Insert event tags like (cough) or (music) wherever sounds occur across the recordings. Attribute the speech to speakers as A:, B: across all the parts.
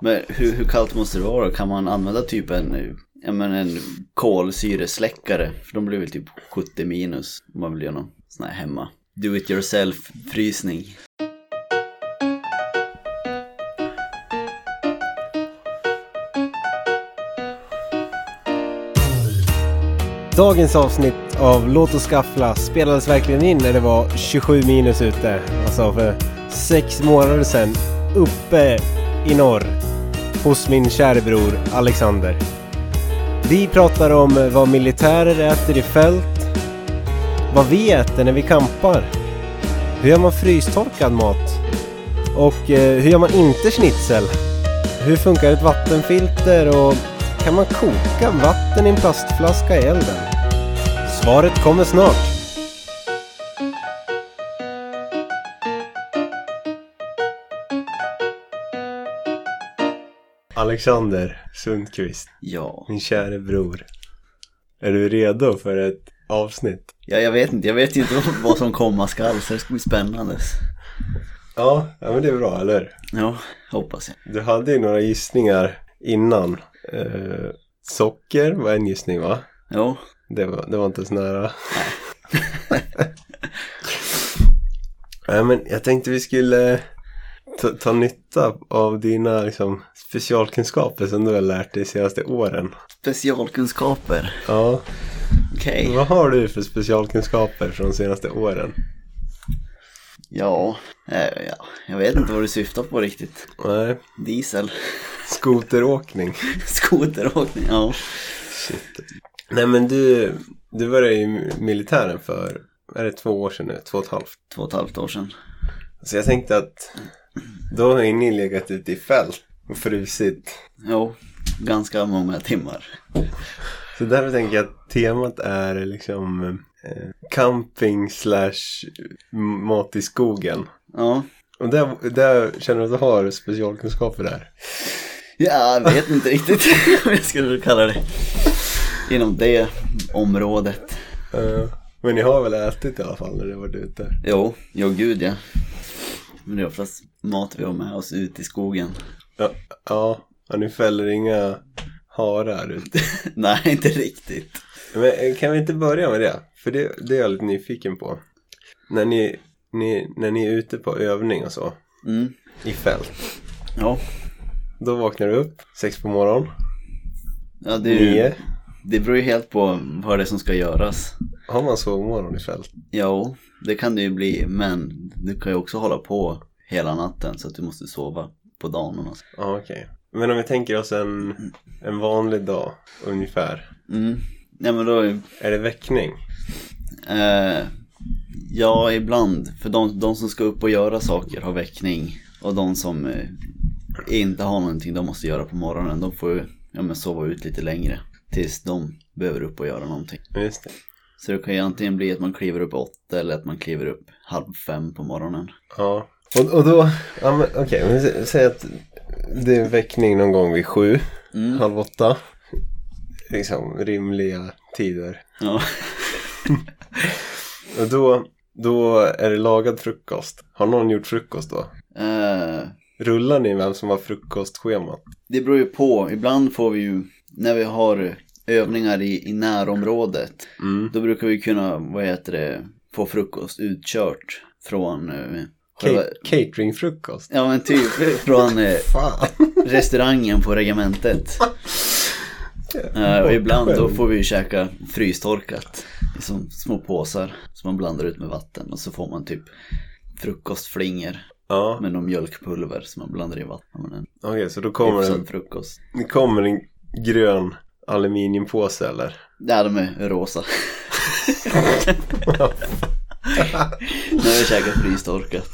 A: Men hur, hur kallt måste det vara? Kan man använda typ en, ja, men en kolsyresläckare? För de blir väl typ 70 minus om man vill göra någon sån här hemma. Do it yourself frysning.
B: Dagens avsnitt av Låt oss gaffla spelades verkligen in när det var 27 minus ute. Alltså för sex månader sedan. Uppe i norr. Hos min käre bror Alexander. Vi pratar om vad militärer äter i fält. Vad vi äter när vi kampar. Hur gör man frystorkad mat? Och eh, hur gör man inte schnitzel? Hur funkar ett vattenfilter och kan man koka vatten i en plastflaska i elden? Svaret kommer snart. Alexander Sundqvist,
A: Ja.
B: min käre bror. Är du redo för ett avsnitt?
A: ja, jag vet inte. Jag vet inte (laughs) vad- vad som komma skall så det ska bli spännande.
B: Ja, ja men det är bra, eller
A: Ja, hoppas jag.
B: Du hade ju några gissningar innan. Eh, socker var en gissning va?
A: Ja,
B: Det var, det var inte så nära. Nej men jag tänkte vi skulle ta, ta nytta av dina liksom, specialkunskaper som du har lärt dig de senaste åren.
A: specialkunskaper.
B: Ja,
A: Okej.
B: vad har du för specialkunskaper från de senaste åren?
A: Ja, eh, ja, jag vet inte vad du syftar på riktigt.
B: Nej,
A: Diesel, (laughs)
B: skoteråkning.
A: skoteråkning, ja.
B: Nej men du, du började ju i militären för, är det två år sedan nu? Två och ett halvt?
A: Två och ett halvt år sedan.
B: Så jag tänkte att då har ju ni legat ute i fält och frusit.
A: Jo, ganska många timmar.
B: Så därför tänker jag att temat är liksom eh, camping slash mat i skogen.
A: Ja,
B: Och där, där känner du att du har specialkunskaper där.
A: ja jag vet inte riktigt (laughs) vad jag skulle kalla det. Inom det området.
B: Eh, men ni har väl ätit i alla fall när du har varit ute?
A: Jo, ja gud ja. Men det är oftast mat vi har med oss ut i skogen. (laughs)
B: Ja, ja, ja ni fäller inga harar ute.
A: Nej, inte riktigt.
B: Men eh, kan vi inte börja med det? För det, det är jag lite nyfiken på. När ni, ni, när ni är ute på övning och så,
A: Mm.
B: i fält.
A: Ja,
B: Då vaknar du upp sex på morgonen.
A: ja det, är ju,
B: Nio.
A: det beror ju helt på vad det är som ska göras.
B: Har man sovmorgon i fält?
A: Jo, det kan det ju bli, men du kan ju också hålla på hela natten så att du måste sova på dagen. Och så.
B: Ja, okej. Men om vi tänker oss en, en vanlig dag ungefär.
A: mm. Nej men då,
B: Är det väckning?
A: eh, ja ibland, för de, de som ska upp och göra saker har väckning och de som eh, inte har någonting de måste göra på morgonen, de får ju ja, men sova ut lite längre tills de behöver upp och göra någonting.
B: Ja, Just det.
A: Så det kan ju antingen bli att man kliver upp åtta eller att man kliver upp halv fem på morgonen.
B: Ja. Och, och då, ja, men, okej, men sä- säg att det är väckning någon gång vid sju,
A: Mm.
B: halv åtta. Liksom rimliga tider.
A: Ja, (laughs)
B: Och då, då är det lagad frukost. Har någon gjort frukost då?
A: eh,
B: Rullar ni vem som har frukostschemat?
A: Det beror ju på. Ibland får vi ju, när vi har övningar i, i närområdet,
B: Mm.
A: då brukar vi kunna, vad heter det, få frukost utkört från... eh, själva-
B: Ca- (laughs) Cateringfrukost?
A: Ja men typ från eh,
B: Fan!
A: restaurangen på regementet. Eh, och ibland då får vi ju käka frystorkat i som små påsar som man blandar ut med vatten och så får man typ frukostflingor
B: Ja,
A: med någon mjölkpulver som man blandar i vatten. Ja, men en
B: okej så då kommer
A: hyfsad
B: det,
A: frukost.
B: det kommer en grön
A: (laughs)
B: aluminiumpåse eller?
A: Ja, de är rosa. (laughs) Nu har jag käkat frystorkat.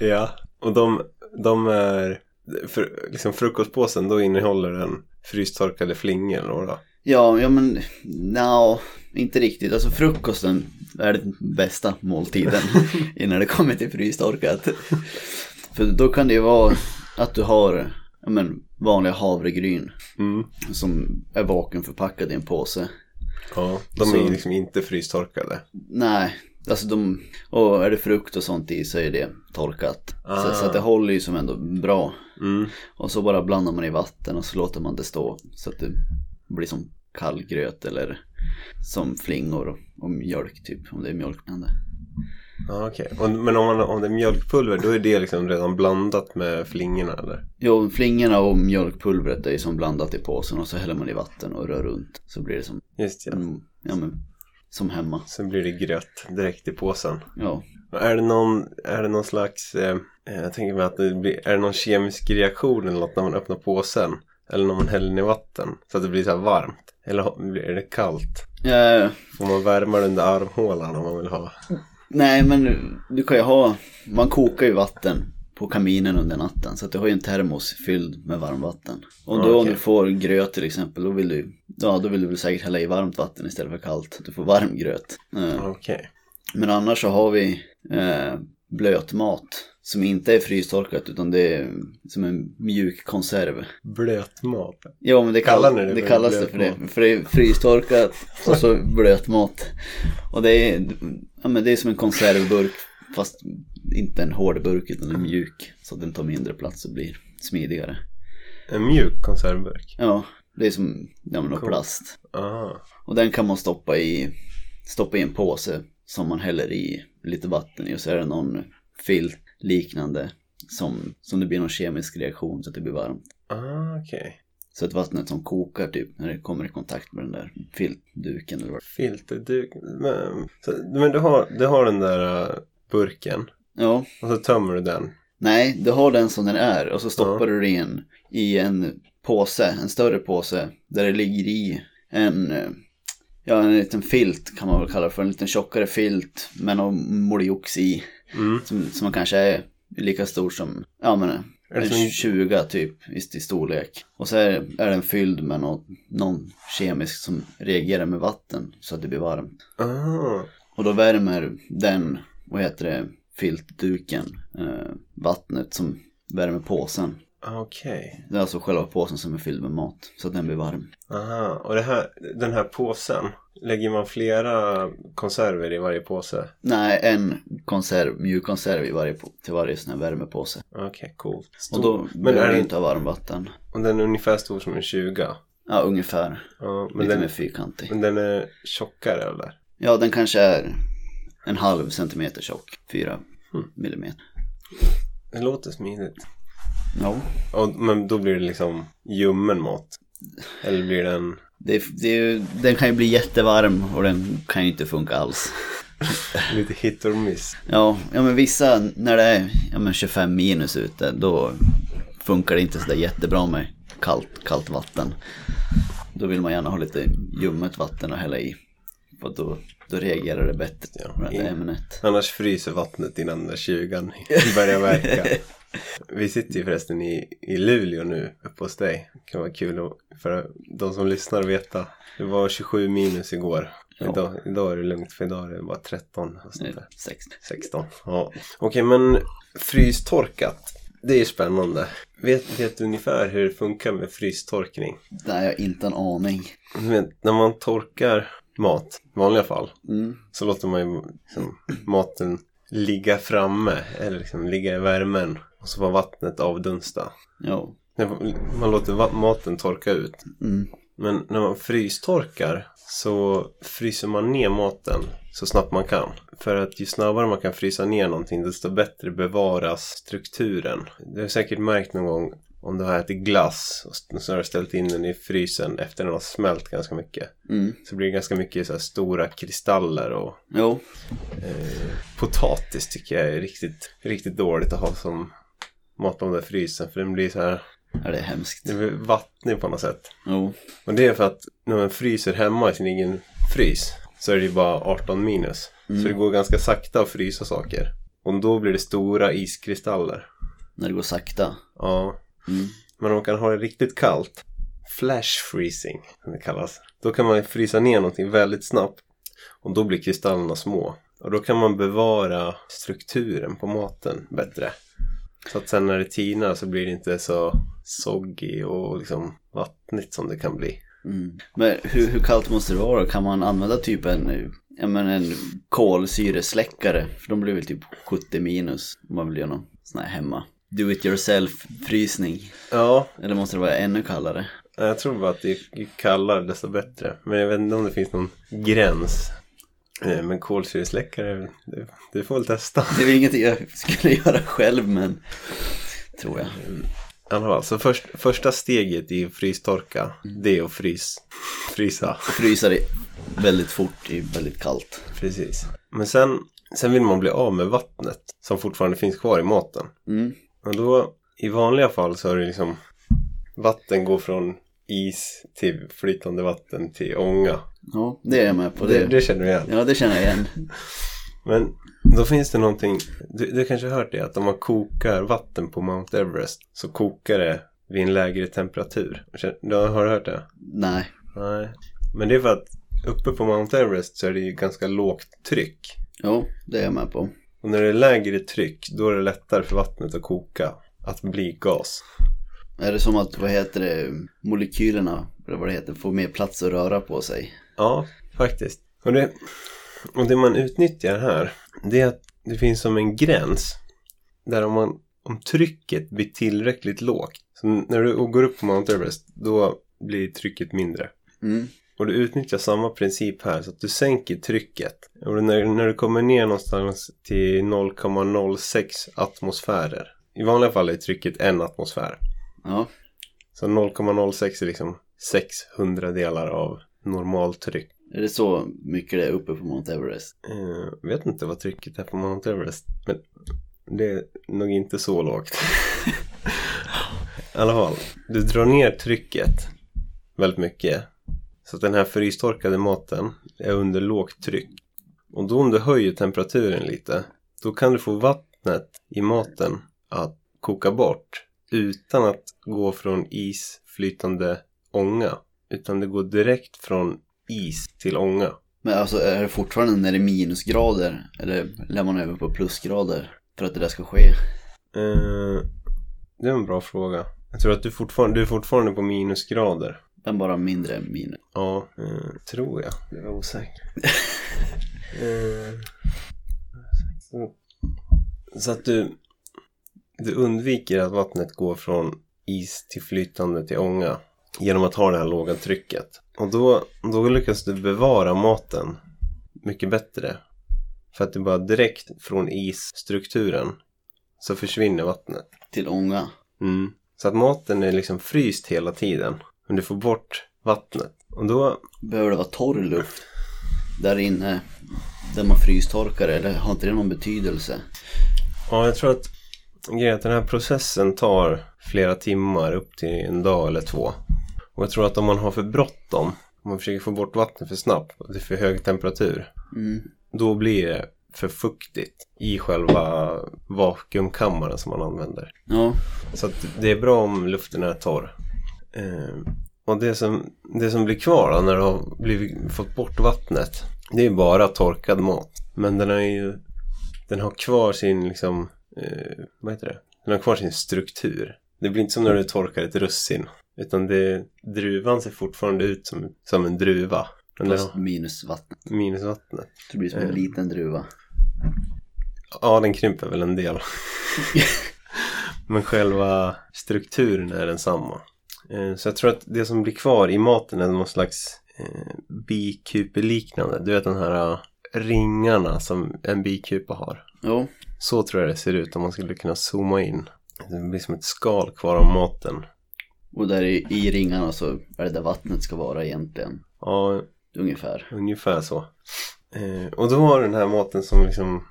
B: Ja, och de, de är, för, liksom frukostpåsen då innehåller den frystorkade flingor då, då.
A: Ja, ja men nja, inte riktigt. Alltså frukosten är den bästa måltiden innan det kommer till frystorkat. För då kan det ju vara att du har ja, men, vanliga havregryn
B: Mm.
A: som är vakuumförpackade i en påse.
B: Ja, de är
A: Så-
B: ju liksom inte frystorkade.
A: Nej, alltså de, och är det frukt och sånt i så är det torkat. Så, så att det håller ju som ändå bra.
B: Mm.
A: Och så bara blandar man i vatten och så låter man det stå så att det blir som kall gröt eller som flingor och- och mjölk typ om det är mjölkande.
C: Ja, okej.
B: Och- Men om, man, om det är mjölkpulver då är det liksom redan blandat med flingorna eller?
A: Jo, flingorna och mjölkpulvret är ju som blandat i påsen och så häller man i vatten och rör runt så blir det som,
B: Just ja.
A: mm, ja men, som hemma.
B: Sen blir det gröt direkt i påsen.
A: Ja,
B: Och Är det någon, är det någon slags, eh, eh, jag tänker mig att det blir, är det någon kemisk reaktion eller något när man öppnar påsen? Eller när man häller den i vatten? Så att det blir så här varmt? Eller ha- blir det kallt?
A: eh,
B: Får man värma den under armhålan om man vill ha?
A: nej men du, du kan ju ha, man kokar ju vatten på kaminen under natten så att du har ju en termos fylld med varmvatten. Och då
B: Ja,
A: om
B: okej.
A: du får gröt till exempel då vill du, ja då vill du väl säkert hälla i varmt vatten istället för kallt. så att Du får varm gröt. Eh,
B: Ah, Okej.
A: Men annars så har vi eh, blötmat som inte är frystorkat utan det är som en mjuk konserv.
B: Blötmat.
A: Ja men det, kall-
B: Kallar ni det
A: det
B: för
A: kallas det för det. För det är frystorkat och så blötmat. Och det är, ja, men det är som en konservburk fast inte en hård burk utan en mjuk. Så att den tar mindre plats och blir smidigare.
B: En mjuk konservburk.
A: Ja, det är som ja, men av plast.
B: Ah.
A: Och den kan man stoppa i, stoppa i en påse som man häller i lite vatten i och så är det någon filt liknande som, som det blir någon kemisk reaktion så att det blir varmt.
B: Ah, okej.
A: Så att vattnet som kokar typ när det kommer i kontakt med den där filtduken eller vad
B: Filterduk. Men, så, men du, har, du har den där eh, burken
A: Ja,
B: och så tömmer du den.
A: nej, du har den som den är och så stoppar
B: Ja.
A: du den i en påse, en större påse där det ligger i en, eh, ja en liten filt kan man väl kalla det för, en liten tjockare filt med någon moliox i
B: Mm.
A: som, som kanske är lika stor som, ja men
B: Är det
A: en
B: som en-
A: 20 typ i, i storlek. Och så är, är den fylld med någon, någon kemisk som reagerar med vatten så att det blir varmt.
B: Ah.
A: Och då värmer den, vad heter det, filtduken, eh, vattnet som värmer påsen.
B: ah, Okej.
A: Det är alltså själva påsen som är fylld med mat, så att den blir varm.
B: Aha. Och det här, den här påsen. Lägger man flera konserver i varje påse?
A: Nej, en konserv, mjukkonserv i varje, på- till varje sån här värmepåse.
B: Okej, coolt.
A: Och då
B: Men
A: behöver
B: är
A: du
B: den-
A: inte ha varmvatten.
B: Och den är ungefär stor som en 20.
A: Ja, ungefär.
B: Ja, men,
A: Lite
B: den,
A: mer fyrkantig.
B: men den är tjockare eller?
A: Ja, den kanske är en halv centimeter tjock. Fyra
B: Mm.
A: millimeter.
B: Det låter smidigt.
A: Ja.
B: Ja, men då blir det liksom ljummen mat. Eller blir den...
A: Det, det, den kan ju bli jättevarm och den kan ju inte funka alls.
B: Lite hit or miss.
A: Ja, ja men vissa när det är ja, men 25 minus ute då funkar det inte sådär jättebra med kallt, kallt vatten. Då vill man gärna ha lite ljummet vatten att hälla i. För att då, då reagerar det bättre
B: Ja,
A: med det
B: i-
A: här ämnet.
B: Annars fryser vattnet innan den där 20 börjar verka. Vi sitter ju förresten i, i Luleå nu, uppe hos dig. Det kan vara kul att, för de som lyssnar att veta. Det var 27 minus igår.
A: Ja.
B: Idag, idag är det lugnt för idag är det bara 13. och sånt där.
A: 60.
B: 16. Ja. Okej, men frystorkat. Det är spännande. Vet, vet du ungefär hur det funkar med frystorkning?
A: Nej, jag har inte en aning.
B: Du vet, när man torkar mat, i vanliga fall,
A: Mm.
B: så låter man ju liksom, maten ligga framme, eller liksom ligga i värmen. Och så får vattnet avdunsta.
A: Ja.
B: Nej, Man låter va- maten torka ut.
A: Mm.
B: Men när man frystorkar så fryser man ner maten så snabbt man kan. För att ju snabbare man kan frysa ner någonting desto bättre bevaras strukturen. Du har säkert märkt någon gång om du har ätit glass och s- så har du ställt in den i frysen efter den har smält ganska mycket.
A: Mm.
B: Så blir det ganska mycket så här stora kristaller och
A: Jo.
B: potatis tycker jag är riktigt, riktigt dåligt att ha som matlåda i frysen. För den blir så här,
A: Ja, det är hemskt.
B: den blir vattnig på något sätt.
A: Jo.
B: Och det är för att när man fryser hemma i sin egen frys så är det ju bara 18 minus. Så det går ganska sakta att frysa saker. Och då blir det stora iskristaller.
A: När det går sakta.
B: Ja.
A: Mm.
B: Men om man kan ha det riktigt kallt, flash freezing som det kallas. Då kan man frysa ner någonting väldigt snabbt och då blir kristallerna små. Och då kan man bevara strukturen på maten bättre. Så att sen när det tinar så blir det inte så soggy och liksom vattnigt som det kan bli.
A: Mm. Men hur, hur kallt måste det vara? Kan man använda typ en, ja, men en kolsyresläckare? För de blir väl typ 70 minus om man vill göra någon sån här hemma. do it yourself frysning.
B: Ja,
A: Eller måste det vara ännu kallare?
B: jag tror bara att ju, ju kallare desto bättre. Men jag vet inte om det finns någon gräns. Eh, Men kolsyresläckare, du, du får väl testa. (laughs)
A: Det är väl ingenting jag skulle (laughs) göra själv men tror jag.
B: I alla fall, så först, första steget i frystorka,
A: Mm.
B: det är att frys, frysa. (laughs)
A: Frysa det väldigt fort i väldigt kallt.
B: Precis. Men sen, sen vill man bli av med vattnet som fortfarande finns kvar i maten.
A: Mm.
B: Och då, i vanliga fall så är det liksom vatten går från is till flytande vatten till ånga.
A: Ja, det är jag med på.
B: Det,
A: Det,
B: det känner vi igen.
A: Ja, det känner jag igen.
B: Men då finns det någonting, du, du kanske har hört det, att om man kokar vatten på Mount Everest så kokar det vid en lägre temperatur. Känner- Du har har du hört det?
A: Nej.
B: Nej. Men det är för att uppe på Mount Everest så är det ju ganska lågt tryck.
A: Jo, det är jag med på.
B: Och när det är lägre tryck då är det lättare för vattnet att koka. Att bli gas.
A: Är det som att, vad heter det, molekylerna, eller vad det heter, får mer plats att röra på sig?
B: Ja, faktiskt. Och det, och det man utnyttjar här det är att det finns som en gräns. Där om, man, om trycket blir tillräckligt lågt. Så när du går upp på Mount Everest då blir trycket mindre.
A: Mm.
B: Och du utnyttjar samma princip här så att du sänker trycket. Och när, när du kommer ner någonstans till 0,06 atmosfärer. I vanliga fall är trycket en atmosfär.
A: Ja,
B: Så 0,06 är liksom 600 delar av normaltryck.
A: är det så mycket det är uppe på Mount Everest?
B: Jag Eh, vet inte vad trycket är på Mount Everest. Men det är nog inte så lågt. I alla fall, du drar ner trycket väldigt mycket. Så att den här frystorkade maten är under lågt tryck. Och då om du höjer temperaturen lite, då kan du få vattnet i maten att koka bort utan att gå från is, flytande ånga. Utan det går direkt från is till ånga.
A: Men alltså är det fortfarande när det är minusgrader? Eller lär man över på plusgrader för att det där ska ske?
B: Eh, det är en bra fråga. Jag tror att du fortfarande, du är fortfarande på minusgrader.
A: Men bara mindre minus.
B: Ja, eh, tror jag. Det var osäker. eh, så- så att du, du undviker att vattnet går från is till flytande till ånga genom att ha det här låga trycket. Och då, då lyckas du bevara maten mycket bättre. För att det bara direkt från isstrukturen så försvinner vattnet.
A: Till ånga.
B: Mm. Så att maten är liksom fryst hela tiden. Men du får bort vattnet. Och då,
A: Behöver det vara torr luft där inne? Där man frystorkar eller har inte det någon betydelse?
B: ja jag tror att grejen är att den här processen tar flera timmar upp till en dag eller två. Och jag tror att om man har för bråttom, om man försöker få bort vattnet för snabbt och det är för hög temperatur.
A: Mm.
B: Då blir det för fuktigt i själva vakuumkammaren som man använder.
A: Ja,
B: Så att det är bra om luften är torr. Eh, och det som, det som blir kvar då när du har blivit, fått bort vattnet. Det är bara torkad mat. Men den har ju den har kvar sin liksom, eh, vad heter det? Den har kvar sin struktur. Det blir inte som när du torkar ett russin. Utan det, druvan ser fortfarande ut som, som en druva. Men den
A: fast
B: har
A: minus vatten.
B: minusvattnet.
A: Det blir som en
B: Eh.
A: liten druva. (laughs)
B: Ja, den krymper väl en del. Men själva strukturen är densamma. Eh, Så jag tror att det som blir kvar i maten är någon slags eh, bikupeliknande. Du vet den här eh, ringarna som en bikupa har.
A: Jo,
B: Så tror jag det ser ut om man skulle kunna zooma in. Det blir som ett skal kvar av maten.
A: och där i, i ringarna så är det där vattnet ska vara egentligen.
B: Ja,
A: Ungefär.
B: ungefär så. Eh, Och då har den här maten som liksom,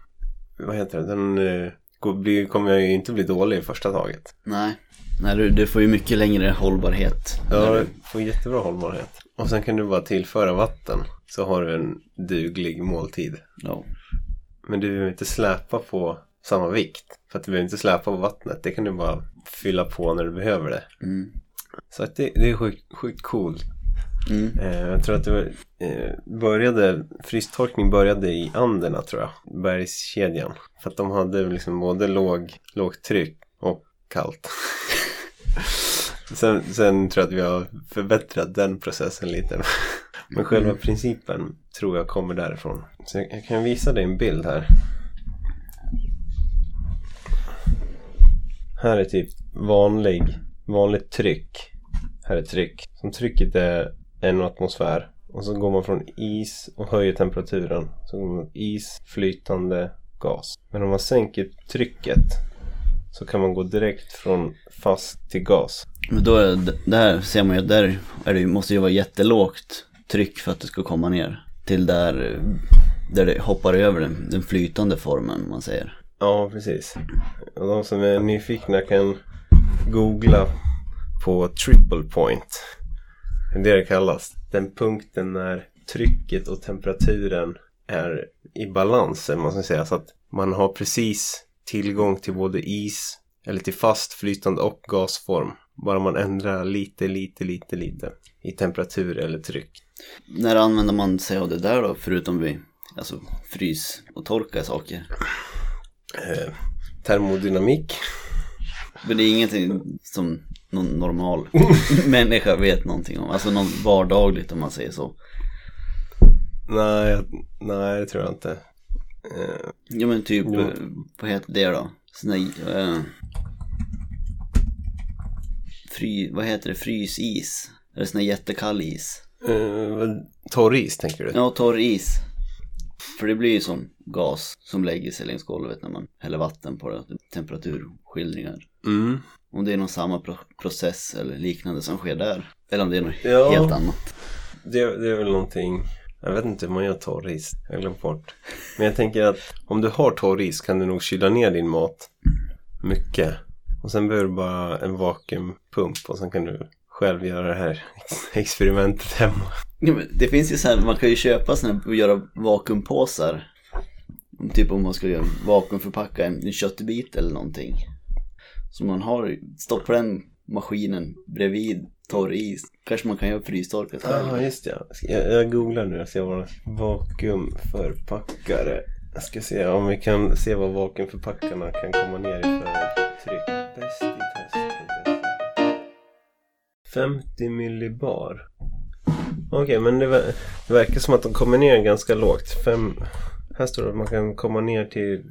B: vad heter det, den eh, går- blir- kommer jag ju inte bli dålig i första taget.
A: Nej, Nej du, du får ju mycket längre hållbarhet.
B: Ja,
A: när
B: du
A: du-
B: får jättebra hållbarhet. Och sen kan du bara tillföra vatten så har du en duglig måltid.
A: ja.
B: Men du behöver inte släpa på samma vikt. För att du behöver inte släpa på vattnet. Det kan du bara fylla på när du behöver det.
A: Mm.
B: Så att det, det är sjukt, sjukt coolt.
A: Mm.
B: Eh, jag tror att det var, eh, började, frystorkning började i Anderna tror jag. Bergskedjan. För att de hade liksom både låg, lågt tryck och kallt. (laughs) sen, sen tror jag att vi har förbättrat den processen lite. Men själva principen tror jag kommer därifrån. Så jag, jag kan visa dig en bild här. Här är typ vanlig, vanligt tryck. Här är tryck. Som trycket är en atmosfär. Och så går man från is och höjer temperaturen. Så går man mot is, flytande, gas. Men om man sänker trycket så kan man gå direkt från fast till gas.
A: Men då är det, där ser man ju att där är det, ju- måste ju vara jättelågt tryck för att det ska komma ner. Till där, eh, där det hoppar över den, den flytande formen man säger.
B: Ja, precis. Och de som är nyfikna kan googla på triple point. Det är det det kallas. Den punkten när trycket och temperaturen är i balans, eller vad man ska säga. Så att man har precis tillgång till både is, eller till fast flytande och gasform. Bara man ändrar lite, lite, lite, lite i temperatur eller tryck.
A: När använder man sig av det där då förutom vid alltså, frys och torka saker?
B: Eh, termodynamik.
A: Men det är ingenting som någon normal människa vet någonting om. Alltså något vardagligt om man säger så.
B: Nej, jag- nej, det tror jag inte. Eh,
A: Ja men typ,
B: Jo.
A: eh, vad heter det då? Såna, eh, fry, vad heter det? Frysis? Eller sån här jättekall is?
B: Uh, torris tänker du?
A: Ja, torr is. För det blir ju som gas som lägger sig längs golvet när man häller vatten på det. Temperaturskildringar.
B: Mm.
A: Om det är någon samma pro- process eller liknande som sker där. Eller om det är något
B: Ja.
A: helt annat.
B: Det, det är väl någonting... Jag vet inte hur man gör torris. Jag har glömt bort. Men jag tänker att om du har torris kan du nog kyla ner din mat mycket. Och sen behöver du bara en vakuumpump och sen kan du själv göra det här (laughs) experimentet hemma.
A: Ja, men det finns ju så här, man kan ju köpa såna här och göra vakuumpåsar. Typ om man skulle göra vakuumförpacka en, en köttbit eller någonting. Så man har, stoppar den maskinen bredvid torr is. Kanske man kan göra frystorkat
B: Ja, ah, just det. Jag ska- Jag, jag googlar nu och ser vad vakuumförpackare. Jag ska se om vi kan se vad vakuumförpackarna kan komma ner i för tryck. Bäst i test. 50 millibar. Okej, men det, ver- det verkar som att de kommer ner ganska lågt. Fem, här står det att man kan komma ner till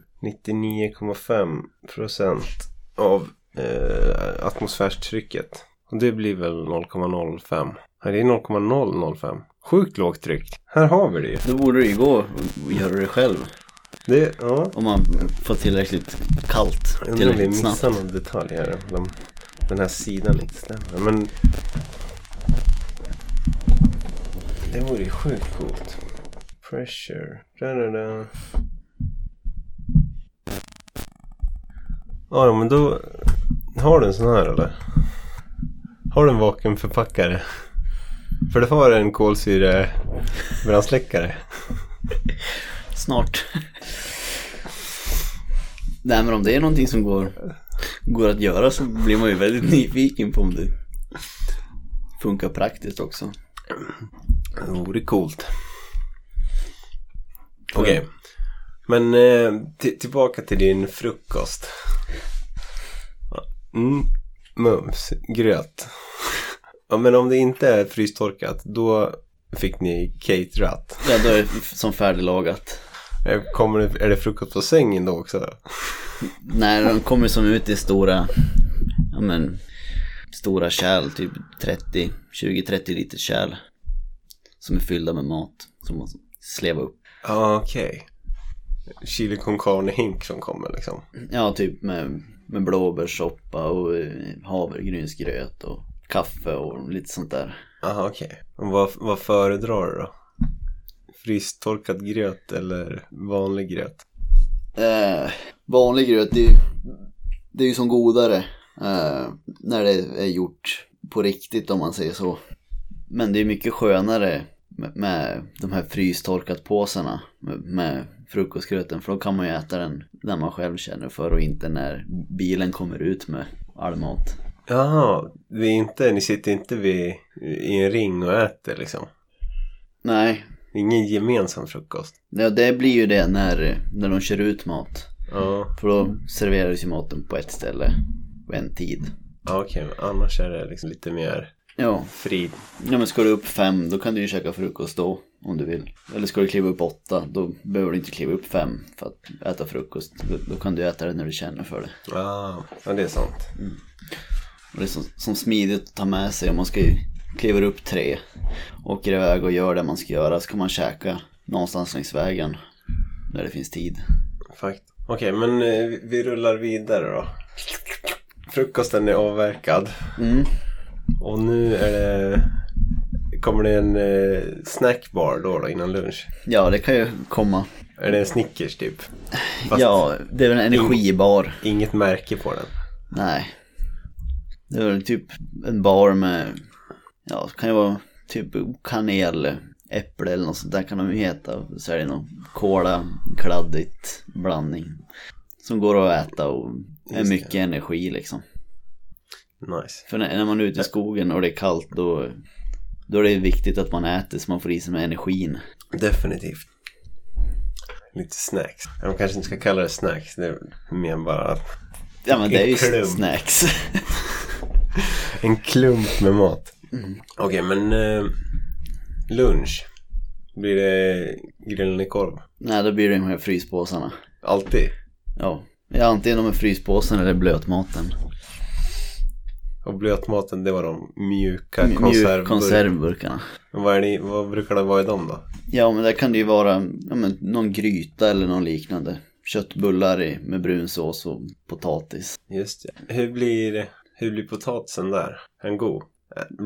B: 99,5 procent av eh, atmosfärstrycket. Och det blir väl 0,05. Nej, det är 0,005. Sjukt lågt tryck. Här har vi det ju.
A: Då borde det ju gå att göra det själv.
B: Det, ja.
A: Om man får tillräckligt kallt
B: Jag undrar om vi
A: tillräckligt snabbt.
B: missar någon detalj här. De, den här sidan inte stämmer. Men... Det vore ju sjukt coolt. Pressure. Da, da, da. Ja, men då... Har du en sån här eller? Har du en vakuumförpackare? För det var en kolsyrebrandsläckare.
A: Snart. Nej men om det är någonting som går, går att göra så blir man ju väldigt nyfiken på om det funkar praktiskt också.
B: Oh, Det vore coolt. Okej. Men eh, ti- tillbaka till din frukost. Mm. Mums. Gröt. (laughs) Ja, men om det inte är frystorkat, då fick ni caterat.
A: Ja då är det f- som färdiglagat.
B: Eh, Kommer det, är det frukost på sängen då också?
A: När de kommer som ut i stora, ja men, stora kärl, typ 30, 20-30 liter kärl. Som är fyllda med mat som man slevar upp.
B: Ja, okej. Chili con carne-hink som kommer liksom.
A: Ja, typ med, med blåbärssoppa och eh, havregrynsgröt och kaffe och lite sånt där.
B: Jaha, okej. Och Vad, vad föredrar du då? Frystorkad gröt eller vanlig gröt?
A: Eh, vanlig gröt, det är, ju- det är ju som godare eh, när det är gjort på riktigt om man säger så. Men det är mycket skönare med, med de här frystorkat påsarna med, med frukostgröten för då kan man ju äta den när man själv känner för och inte när bilen kommer ut med all mat.
B: Jaha, det är inte, ni sitter inte vid, i en ring och äter liksom?
A: Nej,
B: Det är Ingen gemensam frukost?
A: Ja, det blir ju det när, när de kör ut mat.
B: Ja,
A: För då serveras ju maten på ett ställe på en tid.
B: ja, okej. men Annars är det liksom lite mer
A: Ja,
B: fri.
A: ja men ska du upp fem då kan du ju käka frukost då. om du vill. Eller ska du kliva upp åtta, då behöver du inte kliva upp fem för att äta frukost. Då, då kan du äta det när du känner för det.
B: Ah, ja, det är sant.
A: Och det är som, som smidigt att ta med sig om man ska ju- kliver upp tre, åker iväg och gör det man ska göra, så kan man käka någonstans längs vägen när det finns tid.
B: Fakt. Okej, men eh, vi- vi rullar vidare då. Frukosten är avverkad.
A: Mm.
B: Och nu är det... Kommer det en eh, snackbar då, då innan lunch?
A: Ja, det kan ju komma.
B: Är det en Snickers typ? Fast
A: Ja, det är väl en energibar.
B: inget märke på den.
A: Nej. Det är väl typ en bar med, ja, det kan ju vara typ kanel, äpple eller något sånt där kan de ju heta. Så är det någon kola, kladdigt blandning. Som går att äta och är
B: Just det.
A: mycket energi liksom.
B: Nice.
A: För när när man är ute i skogen och det är kallt då, då är det viktigt att man äter så man får i sig med energin.
B: Definitivt. Lite snacks. De kanske inte ska kalla det snacks. Det är mer bara
A: Ja men det är ju
B: Klump.
A: snacks. (laughs)
B: en klump med mat. Okej, men eh, lunch. Blir det grillad korv?
A: Nej då blir det de här fryspåsarna.
B: Alltid.
A: Ja. ja, antingen de är fryspåsen eller blötmaten.
B: Och blötmaten, det var de mjuka
A: Mjuk-
B: konservburkarna.
A: Konservburkarna.
B: Vad, är det- vad brukar det vara i dem då?
A: Ja men där kan det ju vara ja, men, någon gryta eller någon liknande. Köttbullar i- med brun sås och potatis.
B: Just det. Hur blir, hur blir potatisen där? Är den god?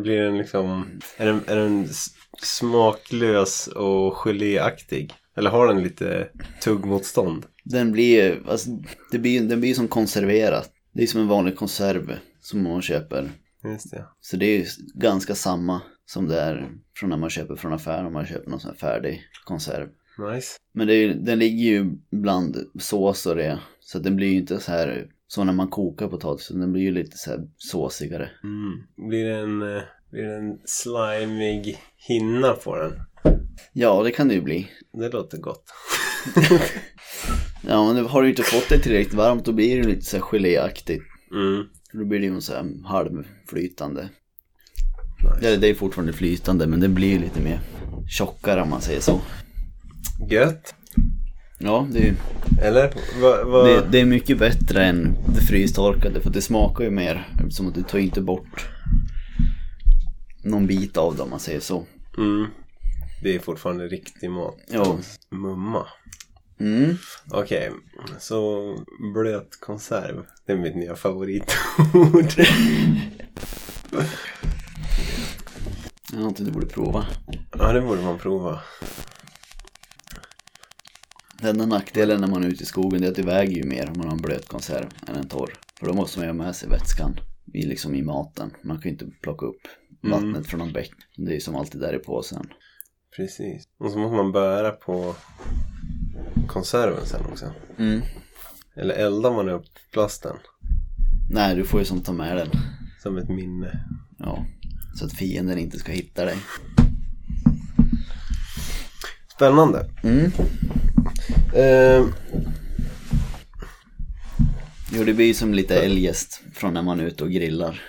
B: Blir den liksom... Är den, är den s- smaklös och geléaktig? Eller har den lite tuggmotstånd?
A: Den blir alltså, det blir, den blir som konserverat. Det är som en vanlig konserv som man köper.
B: Just det.
A: Så det är ju ganska samma som det är från när man köper från affären om man köper någon sån här färdig konserv.
B: Nice.
A: Men det är, ju- den ligger ju bland sås och det. Så att den blir ju inte så här så när man kokar potatis. utan Den blir ju lite så här såsigare.
B: Mm. Blir det en, eh, blir det en slimig hinna på den?
A: Ja, det kan det ju bli.
B: Det låter gott. (laughs)
A: Ja, men nu har du ju inte fått det tillräckligt varmt då blir det lite så här geléaktigt.
B: Mm.
A: Då blir det ju så här halvflytande.
B: Nice.
A: Eller det är fortfarande flytande men det blir ju lite mer tjockare om man säger så.
B: Gött.
A: Ja, det är ju
B: Eller? Va, va...
A: Det, det är mycket bättre än det frystorkade för det smakar ju mer eftersom att du tar inte bort någon bit av det om man säger så.
B: Mm. det är fortfarande riktig mat.
A: Ja.
B: Mumma.
A: Mm.
B: Okej, så blöt konserv. Det är mitt nya favoritord. (laughs)
A: Det är någonting du borde prova.
B: ja, det borde man prova.
A: Den enda nackdelen när man är ute i skogen det är att det väger ju mer om man har en blöt konserv än en torr. För då måste man ju ha med sig vätskan i, liksom i maten. Man kan ju inte plocka upp vattnet från någon bäck. Det är ju som alltid där i påsen.
B: Precis. Och så måste man bära på konserven sen också.
A: Mm.
B: Eller eldar man upp plasten
A: Nej, du får ju som ta med den.
B: som ett minne.
A: Ja. Så att fienden inte ska hitta dig.
B: Spännande.
A: Mm.
B: Eh,
A: Jo, det blir ju som lite eljest från när man är ute och grillar.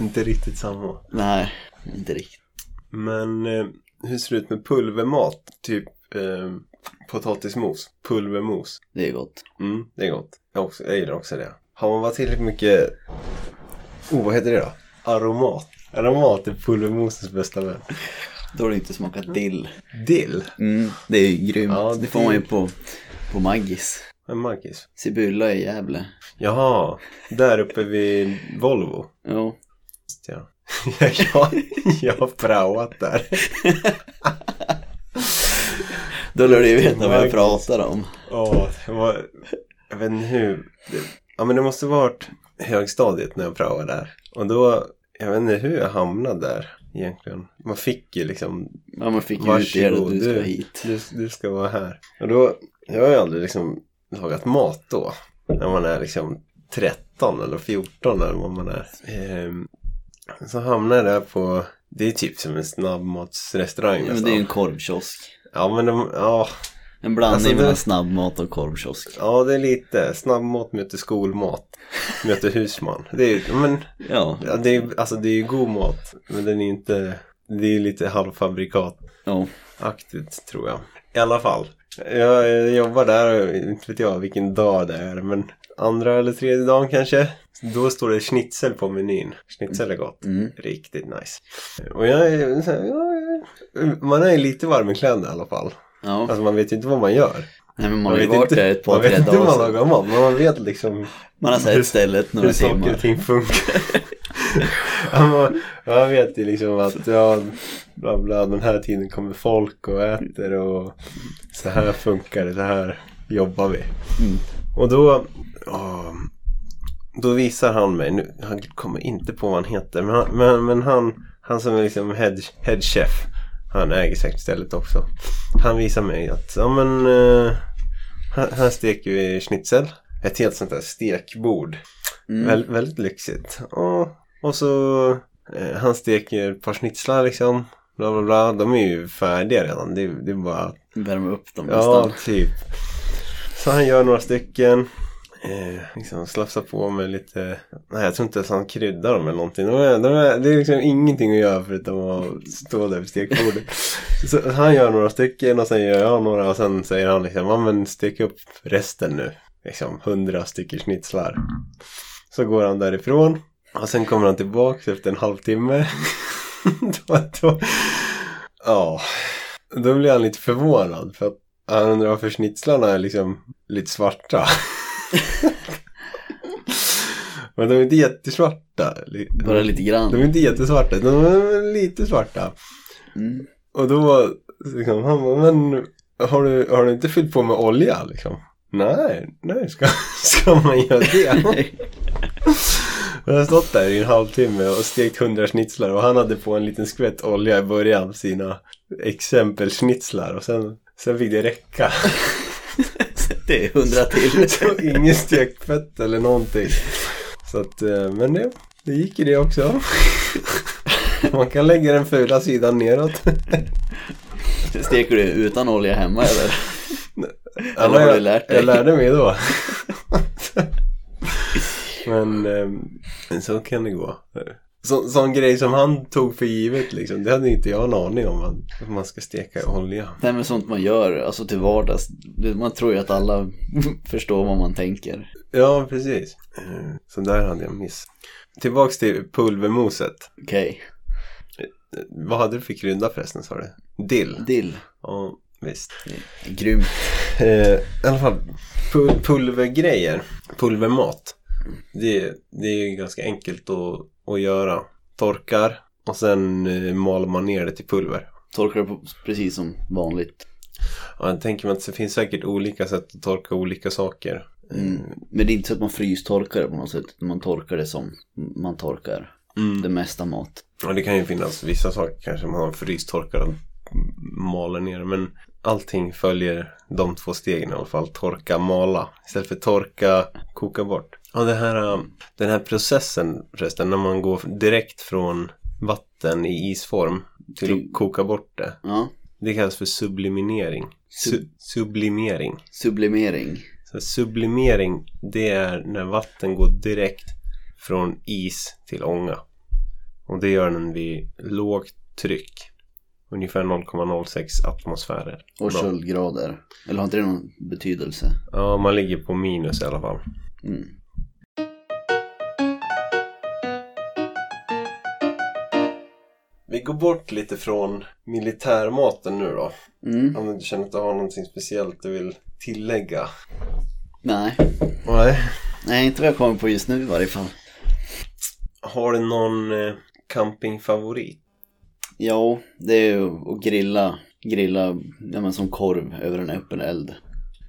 B: inte riktigt samma.
A: Nej, inte riktigt.
B: Men eh, hur ser det ut med pulvermat? Typ eh, potatismos, pulvermos.
A: Det är gott.
B: Mm, det är gott. Jag, också, jag gillar också det. Har man varit tillräckligt mycket... Oh, vad heter det då? Aromat. Aromat är pulvermosens bästa vän.
A: Då har det inte smakat dill.
B: Dill.
A: Mm, det är ju grymt.
B: Ja,
A: det får man ju på, på Maggis.
B: En Marcus.
A: Sibylla i Gävle.
B: Jaha, där uppe vid Volvo.
A: Ja.
B: Just Ja. (laughs) jag, jag har praoat där.
A: Då lär du ju veta vad jag
B: Maggis.
A: pratar om.
B: Åh, det var... Jag vet inte hur... Det... Ja, men det måste varit högstadiet när jag praoade där. Och då... Jag vet inte hur jag hamnade där egentligen. Man fick ju liksom
A: Ja, man fick ju ut det att
B: Varsågod,
A: du ska
B: du.
A: hit.
B: Du, du ska vara här. Och då, jag har ju aldrig liksom lagat mat då. När man är liksom 13 eller 14 eller vad man är. Ehm, så hamnar jag där på, det är typ som en snabbmatsrestaurang
A: Ja, men
B: nästan.
A: det är ju en korvkiosk.
B: Ja men de, ja,
A: En blandning
B: Alltså, det-
A: mellan snabbmat och korvkiosk.
B: ja det är lite snabbmat möter skolmat.
A: (laughs)
B: Möter husman. Det är ju, men
A: Ja.
B: ja, det är, alltså det är ju god mat. Men den är ju inte Det är ju lite halvfabrikataktigt
A: Ja,
B: tror jag. I alla fall. Jag eh, jobbar där och inte vet jag vilken dag det är men andra eller tredje dagen kanske. Då står det schnitzel på menyn. Schnitzel är gott.
A: mm.
B: Riktigt nice. Och jag är så här, ja, ja. Man är lite varm i kläderna i alla fall.
A: ja.
B: Alltså man vet ju inte vad man gör.
A: Nej, men man
B: Man
A: har ju
B: vet
A: varit
B: inte-
A: där ett
B: Man
A: par,
B: vet
A: tre
B: inte hur man
A: dagar. sedan.
B: lagar mat men man vet liksom
A: Man har sett stället några
B: hur saker
A: timmar.
B: och ting funkar. (laughs) ja, man, man vet ju liksom att ja, bla bla, den här tiden kommer folk och äter och så här funkar det, så här jobbar vi.
A: Mm.
B: Och då, ja, då visar han mig, nu, han kommer inte på vad han heter, men han, men, men han, han som är liksom head, head chef, han äger säkert stället också. Han visar mig att, ja men, eh, här, här steker vi schnitzel. Ett helt sånt där stekbord.
A: Mm.
B: Väl, väldigt lyxigt. Och, och så eh, han steker ett par schnitzlar liksom. Bla bla bla. De är ju färdiga redan. Det, är- det är bara...
A: Värma upp dem
B: Ja,
A: nästan.
B: typ. Så han gör några stycken. Eh, liksom slafsar på med lite... Nej, jag tror inte ens han kryddar dem eller någonting. De är, de är, det är liksom ingenting att göra förutom att stå där vid stekbordet. så han gör några stycken och sen gör jag några och sen säger han liksom, ja men stek upp resten nu. Liksom hundra stycken schnitzlar. Så går han därifrån. Och sen kommer han tillbaks efter en halvtimme. (laughs) då, då, ja, då blir han lite förvånad för att han undrar varför schnitzlarna är liksom
A: (laughs)
B: lite svarta. Men de är inte jättesvarta. Li-
A: Bara lite
B: De
A: grann.
B: är inte jättesvarta, utan de är lite svarta.
A: Mm. (laughs)
B: Och då liksom, han bara, men har du, har du inte fyllt på med olja liksom? Nej, nej, ska, (laughs) ska man göra det? Jag har stått där i en halvtimme och stekt hundra schnitzlar och han hade på en liten skvätt olja i början på sina exempelschnitzlar och sen, sen fick det räcka. (laughs)
A: Det är hundra till.
B: Så ingen stekfett eller någonting. Så att, eh, men det, det gick ju det också. Man kan lägga den fula sidan neråt.
A: Steker du utan olja hemma eller?
B: Ja,
A: Eller har
B: jag,
A: du lärt dig?
B: Jag lärde mig
A: (laughs)
B: då. Men eh, så kan det gå. Så, sån grej som han tog för givet liksom. Det hade inte jag en aning om. Att man ska steka i olja.
A: Nej men sånt man gör, alltså till vardags. Det- Man tror ju att alla (laughs) förstår vad man tänker.
B: Ja, precis. Eh, Så där hade jag miss. Tillbaks till pulvermoset.
A: Okej,
B: Eh, Vad hade du för krydda förresten sa du? Dill?
A: dill.
B: Ja, visst.
A: Grymt.
B: Eh, I alla fall, pul- pulvergrejer, pulvermat. Det, det är ju ganska enkelt att, att göra. Torkar och sen eh, maler man ner det till pulver.
A: Torkar det på precis som vanligt.
B: Ja, jag tänker mig att det finns säkert olika sätt att torka olika saker.
A: Mm. Men det är inte så att man frystorkar det på något sätt. utan Man torkar det som man torkar
B: Mm.
A: det mesta mat.
B: Ja, det kan ju finnas vissa saker kanske man har frystorkar och maler ner. Men allting följer de två stegen i alla fall. Torka, mala. Istället för torka, koka bort. Ja, det här, eh, den här processen förresten, när man går direkt från vatten i isform till
A: Till-
B: att koka bort det.
A: Ja,
B: Det kallas för subliminering. Su- sublimering.
A: sublimering.
B: Så sublimering, det är när vatten går direkt från is till ånga. Och det gör den vid lågt tryck. Ungefär 0,06 atmosfärer.
A: Och
B: Bra.
A: köldgrader. Eller har inte det någon betydelse?
B: Ja, man ligger på minus i alla fall.
A: Mm.
B: Vi går bort lite från militärmaten nu då.
A: Mm.
B: Om du känner att du har någonting speciellt du vill tillägga.
A: Nej.
B: Nej.
A: Nej, inte vad jag kommer på just nu i varje fall.
B: Har du någon eh, campingfavorit?
A: Ja, det är ju att grilla, grilla ja, men som korv över en öppen eld.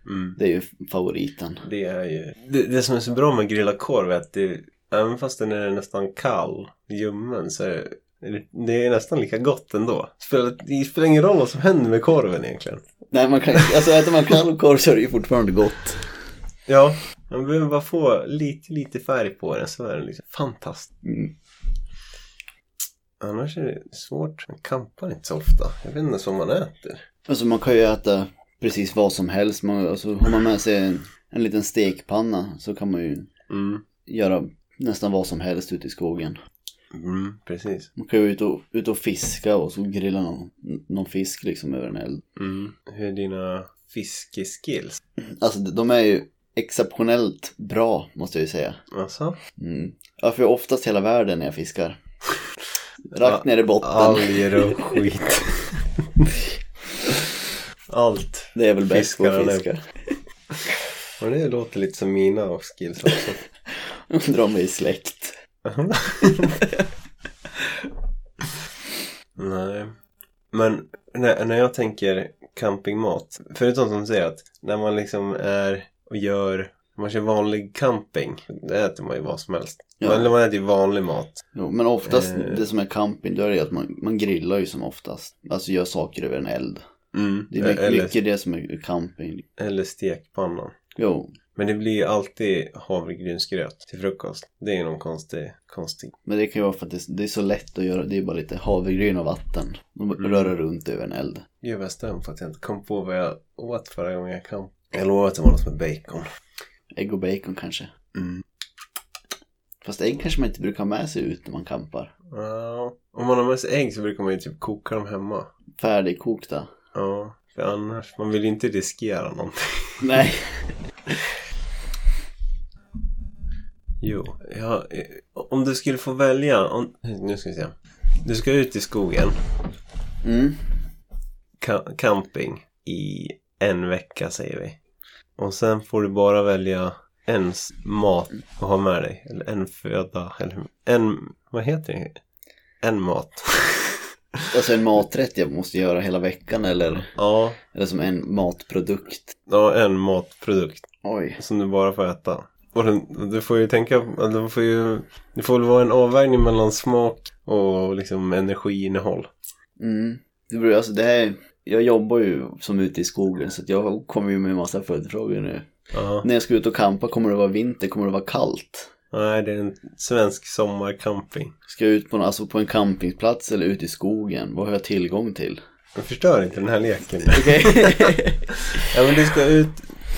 B: Mm.
A: Det är ju favoriten.
B: Det är ju... Det, det som är så bra med grillad korv är att det, även fast den är nästan kall, ljummen, så är det, det är nästan lika gott ändå. Spelar, det spelar ingen roll vad som händer med korven egentligen.
A: Nej, man kan, alltså äter man kall korv så är det ju fortfarande gott.
B: Ja, man behöver bara få lite, lite färg på den så är den liksom fantastisk.
A: Mm.
B: Annars är det svårt. Man kampar inte så ofta. Jag vet inte ens vad man äter.
A: Alltså man kan ju äta precis vad som helst. Man, alltså, har man med sig en, en liten stekpanna så kan man ju
B: Mm.
A: göra nästan vad som helst ute i skogen.
B: Mm, precis.
A: Man kan ju ut och, ut och fiska och så grilla någon, någon fisk liksom över en eld.
B: Mm. Hur är dina fiskeskills?
A: Alltså de är ju exceptionellt bra måste jag ju säga.
B: Alltså?
A: Mm. Jag får ju oftast hela världen när jag fiskar. Rakt ner i botten.
B: Alger (laughs) och skit. Allt.
A: Det är väl bäst på
B: Fiskar,
A: att
B: eller?
A: fiska.
B: Och det låter lite som mina och skills också.
A: Undrar om vi är släkt.
B: (laughs) Nej. Men när, när jag tänker campingmat. Förutom som du säger att när man liksom är och gör, man kör vanlig camping. Det äter man ju vad som helst.
A: Ja.
B: Eller man äter ju vanlig mat.
A: Jo, men oftast
B: Eh.
A: det som är camping, då är det att man, man grillar ju som oftast. Alltså gör saker över en eld.
B: Mm.
A: Det är mycket,
B: eller,
A: mycket det som är camping.
B: eller stekpannan.
A: Jo,
B: Men det blir ju alltid havregrynsgröt till frukost. Det är ju någon konstig, konstig.
A: men det kan ju vara för att det, det är så lätt att göra. Det är bara lite havregryn och vatten. De
B: Mm.
A: röra runt över en eld.
B: Gud vad jag är stum för att jag inte kom på vad jag åt förra gången jag kom. Jag lovar att det var något med bacon.
A: Ägg och bacon kanske.
B: Mm.
A: Fast ägg kanske man inte brukar ha med sig ut när man campar.
B: Ja, om man har med sig ägg så brukar man ju typ koka dem hemma.
A: Färdigkokta. (laughs)
B: Ja, för annars, man vill ju inte riskera någonting.
A: Nej.
B: Jo, ja, eh, om du skulle få välja, om, nu ska vi se. Du ska ut i skogen,
A: Mm.
B: ka- camping, i en vecka säger vi. Och sen får du bara välja en s- mat att ha med dig, eller en föda, eller en, vad heter det? En mat.
A: Alltså en maträtt jag måste göra hela veckan eller,
B: ja,
A: eller som en matprodukt.
B: ja, en matprodukt.
A: Oj.
B: som du bara får äta. Och den, du får ju tänka, alltså, du får ju, det får väl vara en avvägning mellan smak och liksom energiinnehåll.
A: Mm. Det beror, alltså det här, jag jobbar ju som ute i skogen så att jag kommer ju med en massa följdfrågor nu.
B: Ja.
A: När jag ska ut och campa, kommer det vara vinter? Kommer det vara kallt?
B: Nej, det är en svensk sommarcamping.
A: Ska jag ut på, en- alltså på en campingplats eller ute i skogen? Vad har jag tillgång till?
B: Men förstör inte den här leken.
A: Okej.
B: ja, men du ska ut,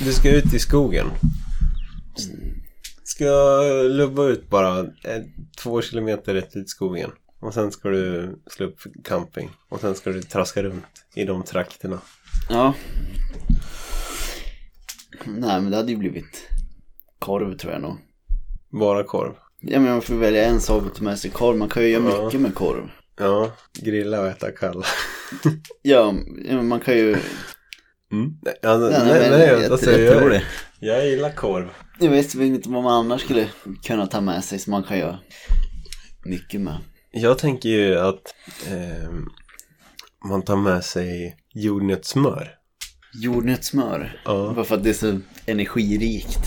B: du ska ut i skogen. Ska lubba ut bara eh, två kilometer rätt ut i skogen. Och sen ska du slå upp camping. Och sen ska du traska runt i de trakterna.
A: (laughs) Ja. Nej men det hade ju blivit korv tror jag nog.
B: Bara korv.
A: Ja men man får välja en sak och ta med sig korv. Man kan ju göra
B: Ja.
A: mycket med korv.
B: Ja, grilla och äta kall.
A: Ja, ja, men man kan ju...
B: Mm. Nej, alltså,
A: Nej,
B: nej,
A: nej,
B: nej,
A: men jag-
B: alltså,
A: jag tror det.
B: jag, jag gillar korv.
A: Jag vet väl inte vad man annars skulle kunna ta med sig som man kan göra mycket med.
B: Jag tänker ju att ehm, man tar med sig jordnötssmör.
A: Jordnötssmör.
B: Ja.
A: Bara för att det är så energirikt.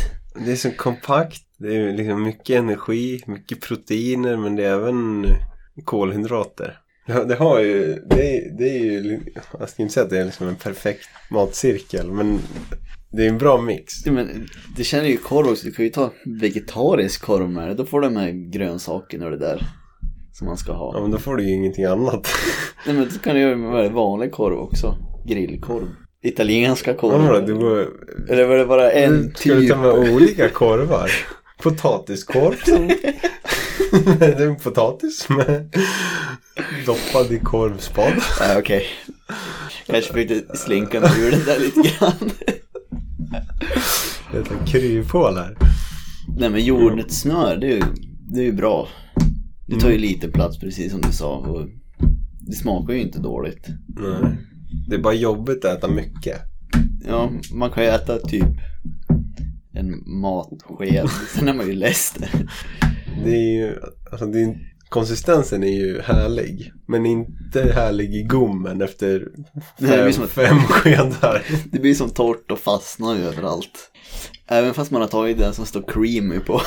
B: Det är så kompakt, det är liksom mycket energi, mycket proteiner men det är även kolhydrater. Ja, det har ju, det är, det är ju, li- jag ska inte säga att det är liksom en perfekt matcirkel men det är en bra mix.
A: Ja, men det känner ju korv också. Du kan ju ta vegetarisk korv med det. Då får du de här grönsakerna och det där. Som man ska ha.
B: Ja men då får du ju ingenting annat. (laughs)
A: Nej men då kan du göra med vanlig korv också. Grillkorv. Italienska
B: Ja, men
A: korv.
B: du går,
A: Eller var det bara en
B: Ska du
A: typ?
B: ta med olika korvar? Potatiskorv som... (laughs) det är en potatis med doppad i korvspad.
A: Ja, okej. Kanske fick det slinka mig ur det där lite grann.
B: Det är kryphål här.
A: Nej men jordnötssnör, det är ju, det är ju bra. Det tar ju
B: Mm.
A: lite plats precis som du sa. Och det smakar ju inte dåligt.
B: Nej. Det är bara jobbigt att äta mycket.
A: Ja,
B: Mm.
A: man kan ju äta typ en
B: (laughs)
A: matsked, sen är man ju less.
B: Det är ju, alltså det är, konsistensen är ju härlig. Men inte härlig i gommen efter
A: Det här blir
B: fem,
A: som ett-
B: fem skedar.
A: Det blir som torrt och fastnar ju överallt. Även fast man har tagit den som står creamy på.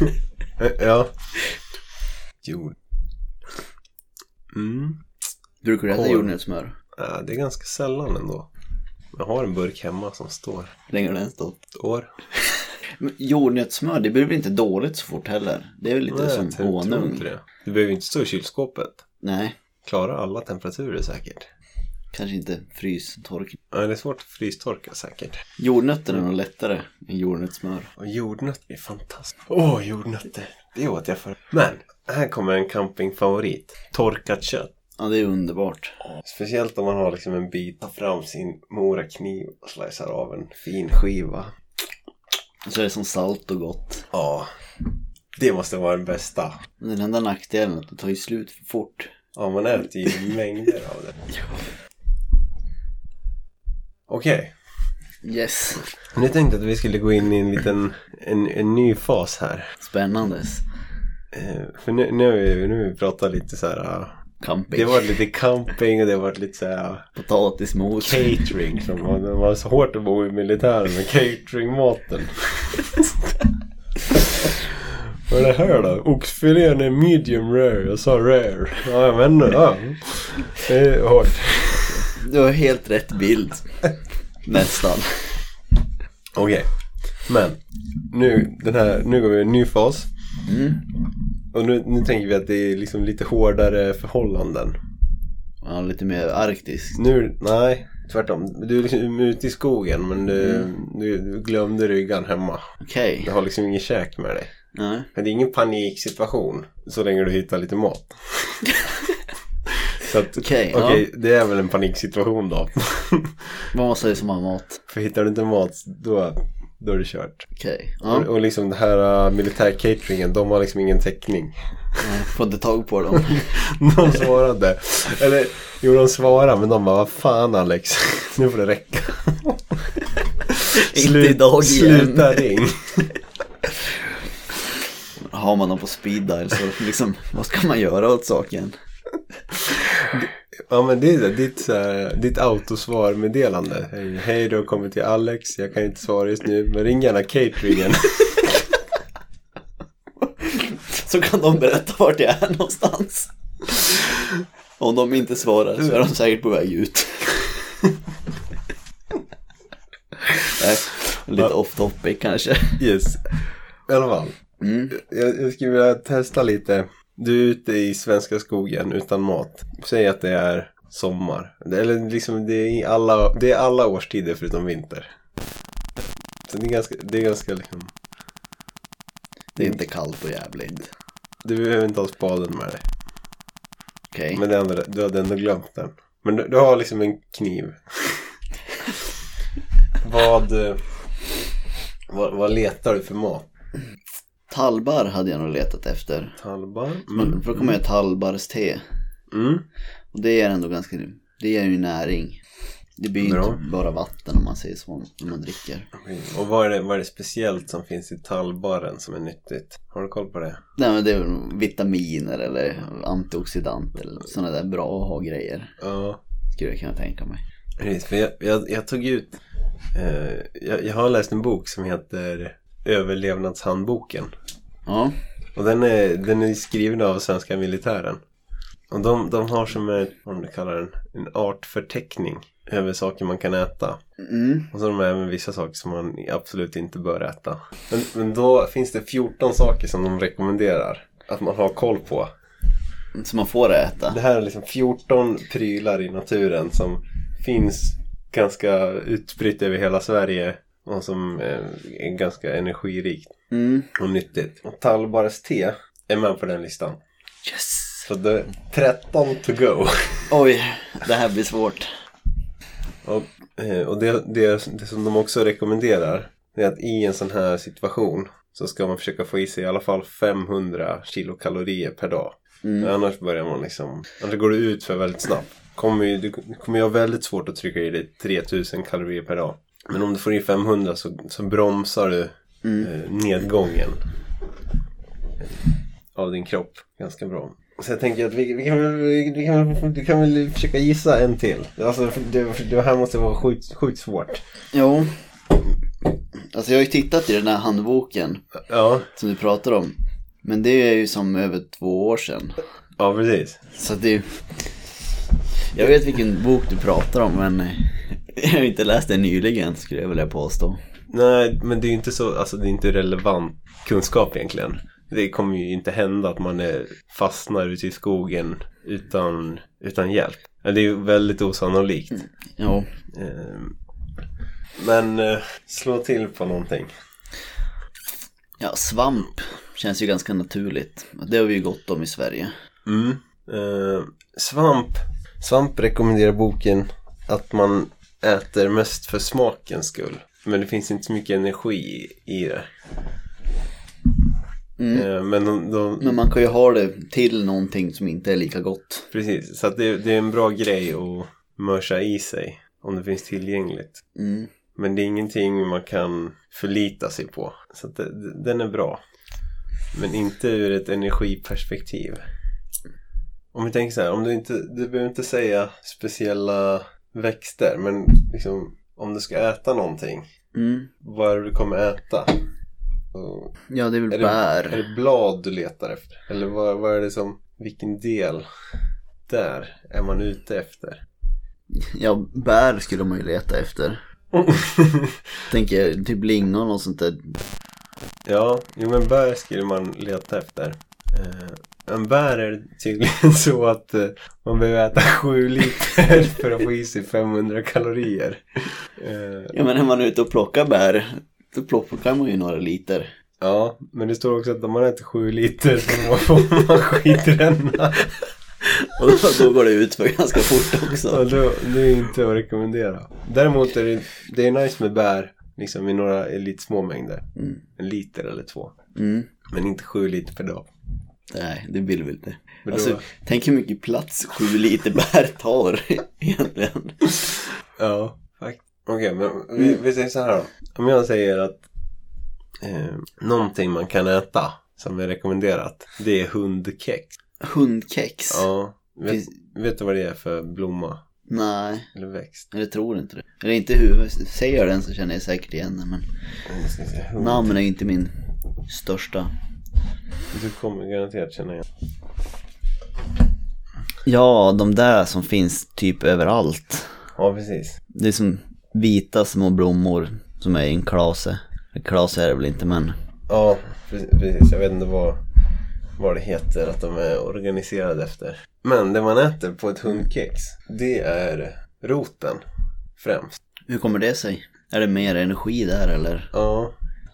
A: (laughs)
B: ja. Jo. Mm.
A: Brukar du äta
B: Korv.
A: jordnötssmör?
B: Ja, det är ganska sällan ändå. Jag har en burk hemma som står.
A: Hur länge har den stått?
B: Ett år.
A: Men jordnötssmör, det blir väl inte dåligt så fort heller? Det är väl lite
B: Nej, jag
A: som
B: tror- tror
A: honung?
B: inte det. Du behöver ju inte stå i kylskåpet.
A: Nej,
B: Klarar alla temperaturer säkert.
A: kanske inte frystork.
B: Ja, det är svårt att frystorka säkert.
A: Jordnötter är nog lättare än jordnötssmör.
B: Och jordnötter är fantastiskt. Åh, jordnötter. Det åt jag för. Men Här kommer en campingfavorit. Torkat kött.
A: Ja, det är underbart.
B: Speciellt om man har liksom en bit, tar fram sin morakniv och slicear av en fin skiva.
A: Så är det som salt och gott.
B: Ja, det måste vara den bästa.
A: Men den enda nackdelen är att det tar ju slut för fort.
B: Ja, man äter ju mängder av det. Okej,
A: Yes.
B: nu tänkte jag att vi skulle gå in i en liten, en, en ny fas här.
A: Spännandes.
B: Eh, För nu, nu, har vi- nu har vi pratat lite så här. ah,
A: Camping.
B: Det var lite camping och det var lite så här ah,
A: Potatismos.
B: catering. Som var, det var så hårt att bo i militären med cateringmaten. Vad är det här då? Oxfilén är medium rare. Jag sa rare. Ja, jag vet inte. Ja. Det är hårt.
A: Du har helt rätt bild. Nästan.
B: Okej. Men nu, den här, nu går vi i en ny fas.
A: Mm.
B: Och nu, nu tänker vi att det är liksom lite hårdare förhållanden.
A: Ja, lite mer arktisk.
B: Nu, nej. Tvärtom. Du är liksom ute i skogen men du,
A: Mm.
B: du, du glömde ryggan hemma.
A: Okej.
B: Du har liksom ingen käk med dig.
A: Nej.
B: Men det är ingen paniksituation så länge du hittar
A: (laughs)
B: lite mat. så att,
A: Okej, ja.
B: okej, det är väl en paniksituation då. (laughs)
A: Vad man säger som har mat.
B: För hittar du inte mat då, då är det kört.
A: Okej.
B: Och,
A: Ja.
B: och liksom det här uh, militärcateringen, de har liksom ingen täckning. (laughs)
A: Jag får inte tag på dem.
B: De svarade. Eller jo, de svarade men de bara vad fan Alex, (laughs) nu får det räcka.
A: Inte idag igen.
B: Sluta ring.
A: Har man dem på speed dial så liksom, vad ska man göra åt saken?
B: Ja men det är det, ditt, så här, ditt autosvarmeddelande. Hej, hej du har kommit till Alex, jag kan inte svara just nu men ring gärna cateringen. (laughs)
A: Så kan de berätta vart jag är någonstans. Om de inte svarar så är de säkert på väg ut. Nej, Lite off topic kanske.
B: Yes. I alla fall.
A: Mm.
B: Jag, jag skulle vilja testa lite. Du är ute i svenska skogen utan mat. Säg att det är sommar. Det- Eller liksom det är, i alla, det är alla årstider förutom vinter. Så det är ganska, det är ganska liksom.
A: Det är inte kallt och jävligt.
B: Du behöver inte ha spaden med dig.
A: Okej.
B: Men det andra, du hade ändå glömt den. Men du, du har liksom en kniv. vad, eh, vad, vad letar du för mat?
A: Tallbar hade jag nog letat efter.
B: Talbar?
A: Men för då kommer jag tallbarste.
B: Mm.
A: Och det är ändå ganska, det ger ju näring. Det blir ju
B: Bra.
A: inte bara vatten om man säger så, om man dricker.
B: Och vad är, det, vad är det speciellt som finns i tallbaren som är nyttigt? Har du koll på det?
A: Nej men det är väl vitaminer eller antioxidanter eller sådana där bra att ha grejer.
B: Ja,
A: Skulle jag kunna tänka mig.
B: precis. För jag, jag, jag tog ut... Eh, jag, jag har läst en bok som heter Överlevnadshandboken.
A: Ja,
B: Och den är, den är skriven av svenska militären. Och de, de har som en, vad de kallar den, en artförteckning över saker man kan äta.
A: mm.
B: Och så har de även vissa saker som man absolut inte bör äta. Men, men då finns det 14 saker som de rekommenderar att man har koll på.
A: så man får äta.
B: Det här är liksom 14 prylar i naturen som finns ganska utspritt över hela Sverige och som eh, är ganska energirikt
A: Mm.
B: och nyttigt. Och Tallbares te är med på den listan.
A: Yes!
B: Så det är 13 to go.
A: Oj, det här blir svårt.
B: Och, eh, och det, det, det som de också rekommenderar är att i en sån här situation så ska man försöka få i sig i alla fall 500 kilokalorier per dag.
A: Mm.
B: Annars börjar man liksom, annars går det ut för väldigt snabbt. Kommer ju, du kommer ju ha väldigt svårt att trycka i dig 3000 kalorier per dag. Men om du får i 500 så, så bromsar du eh, nedgången av din kropp ganska bra. Så jag tänker att vi, vi, kan, väl- vi, vi kan, väl- du kan väl försöka gissa en till. Alltså det, det här måste vara sjukt, sjukt svårt.
A: Jo. Alltså jag har ju tittat i den här handboken
B: Ja,
A: som du pratar om. Men det är ju som över två år sedan.
B: ja precis.
A: Så det är... Jag vet vilken bok du pratar om men (laughs) eh, jag har inte läst den nyligen skulle jag vilja påstå.
B: Nej, men det är ju inte så, alltså det är inte relevant kunskap egentligen. Det kommer ju inte hända att man är, fastnar ute i skogen utan, utan hjälp. Ja, Det är ju väldigt osannolikt. Ehm,
A: Jo.
B: Eh, Men eh, slå till på någonting.
A: Ja, svamp känns ju ganska naturligt. Det har vi ju gott om i Sverige.
B: Mm. Eh, svamp. Svamp rekommenderar boken att man äter mest för smakens skull. Men det finns inte så mycket energi i- i det.
A: Mm.
B: Eh, men de, de,
A: Men man kan ju ha det till någonting som inte är lika gott.
B: precis, så att det, det är en bra grej att mörsa i sig om det finns tillgängligt.
A: Mm.
B: Men det är ingenting man kan förlita sig på. Så att det, det- den är bra. Men inte ur ett energiperspektiv. Om vi tänker så här, om du inte, du behöver inte säga speciella växter. Men liksom, om du ska äta någonting.
A: Mm.
B: Vad är det du kommer äta? Och
A: Ja, det är väl
B: Är det-
A: bär.
B: är det blad du letar efter? Eller vad, vad är det som, vilken del där är man ute efter? (laughs)
A: Ja, bär skulle man ju leta efter. Tänker jag, typ lingon och sånt där.
B: Ja, jo men bär skulle man leta efter. Eh, Men bär är tydligen (laughs) så att eh, man behöver äta (laughs) sju liter för att få i sig 500 kalorier. Eh,
A: Ja, men när man är ute och plockar bär, då plockar man ju några liter. (laughs)
B: Ja, men det står också att om man äter sju liter så får man (laughs) skitränna.
A: Och då, då går det ut för ganska fort också.
B: Och då, det är inte att rekommendera. Däremot är det, det är nice med bär liksom i några i lite små mängder.
A: Mm.
B: En liter eller två.
A: Mm.
B: Men inte sju liter per dag.
A: Nej, det vill vi inte.
B: Men då-
A: Alltså, tänk hur mycket plats sju liter bär tar (laughs) egentligen.
B: Ja, faktiskt. Okej, men vi, vi säger så här då. Om jag säger att eh, någonting man kan äta som är rekommenderat, det är hundkex.
A: Hundkex?
B: Ja, vet,
A: Finns-
B: vet du vad det är för blomma
A: Nej,
B: eller växt?
A: eller tror inte det. Eller inte i huvudet. Säger jag den så känner jag säkert igen den. Men
B: Jag ska se, hund-
A: namn är inte min största.
B: Du kommer garanterat känna igen.
A: Ja, de där som finns typ överallt.
B: Ja, precis.
A: Det är som vita små blommor som är i en klase. Klase är det väl inte men.
B: Ja, pre- precis. Jag vet inte vad, vad det heter att de är organiserade efter. Men det man äter på ett hundkex, det är roten främst.
A: Hur kommer det sig? Är det mer energi där eller?
B: Ja,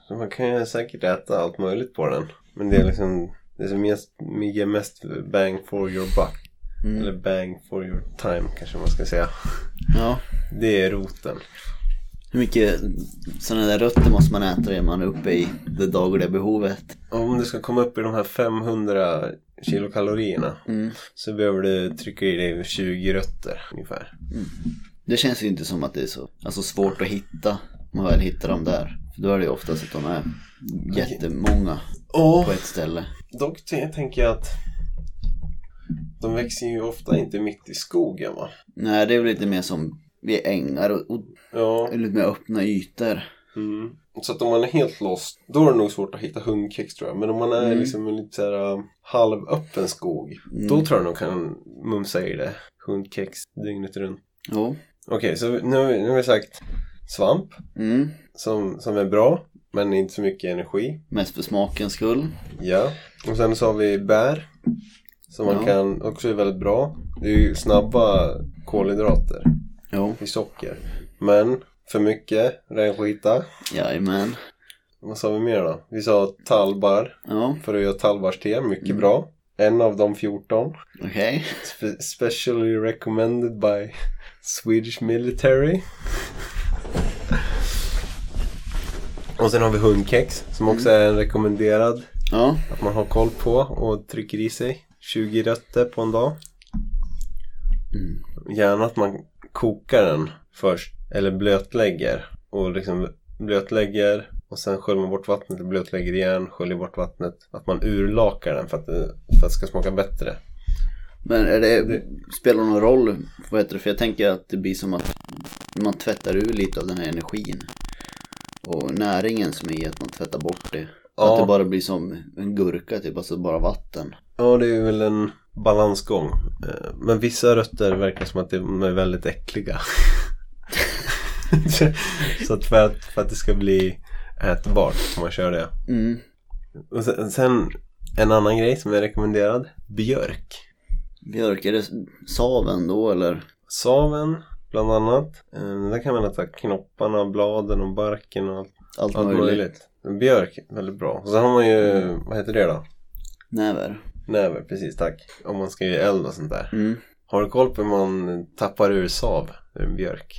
B: så man kan ju säkert äta allt möjligt på den. Men det är liksom det som mest- ger mest bang for your buck. Eller bang for your time kanske man ska säga.
A: Ja.
B: Det är roten.
A: Hur mycket sådana där rötter måste man äta när man är uppe i det dagliga behovet?
B: Om du ska komma upp i de här 500 kilokalorierna så behöver du trycka i dig 20 rötter ungefär.
A: Det känns ju inte som att det är så alltså svårt att hitta om man väl hittar dem där. För då är det ju oftast att de är jättemånga
B: Åh,
A: på ett ställe.
B: Dock t- tänker jag att de växer ju ofta inte mitt i skogen va?
A: Nej, det är väl lite mer som vid ängar och, och
B: Ja.
A: lite mer öppna ytor.
B: Mm. Så att om man är helt lost, då är det nog svårt att hitta hundkex tror jag. Men om man är liksom i lite så här um, halvöppen skog, då tror jag nog kan mumsa i det. Hundkex dygnet runt.
A: Jo.
B: Okej, så nu, har vi- nu har vi sagt svamp
A: Mm.
B: som, som är bra, men inte så mycket energi.
A: Mest för smakens skull.
B: Ja, och sen så har vi bär. Som man
A: Ja.
B: kan, också är väldigt bra. Det är ju snabba kolhydrater
A: Jo.
B: i socker. Men för mycket, renskita.
A: Jajamän.
B: Vad sa vi mer då? Vi sa tallbar
A: Ja,
B: för att göra tallbarste, mycket bra. En av de 14.
A: okej.
B: Spe- specially recommended by Swedish military. Och sen har vi hundkex som också är en rekommenderad
A: Ja.
B: att man har koll på och trycker i sig 20 rötter på en dag. Gärna att man kokar den först eller blötlägger och liksom blötlägger och sen sköljer man bort vattnet, blötlägger igen, sköljer bort vattnet. Att man urlakar den för att, det- för att det ska smaka bättre.
A: Men är det, spelar det någon roll, vad heter det? För jag tänker att det blir som att man tvättar ur lite av den här energin. Och näringen som är i att man tvättar bort det.
B: Ja.
A: Att det bara blir som en gurka typ, alltså bara vatten.
B: Ja, det är väl en balansgång. Eh, Men vissa rötter verkar som att de är väldigt äckliga. (laughs) Så att för, att för att det ska bli ätbart får man köra det.
A: Mm.
B: Och sen, sen en annan grej som är rekommenderad. Björk.
A: Björk, är det saven då eller?
B: Saven bland annat. Eh, Där kan man äta knopparna, bladen och barken och allt,
A: Allt,
B: allt
A: möjligt.
B: möjligt. Men Björk, väldigt bra. Och så har man ju, vad heter det då?
A: Näver.
B: Näver, precis tack. Om man ska göra eld och sånt där.
A: Mm.
B: Har du koll på hur man tappar ur sav ur en björk?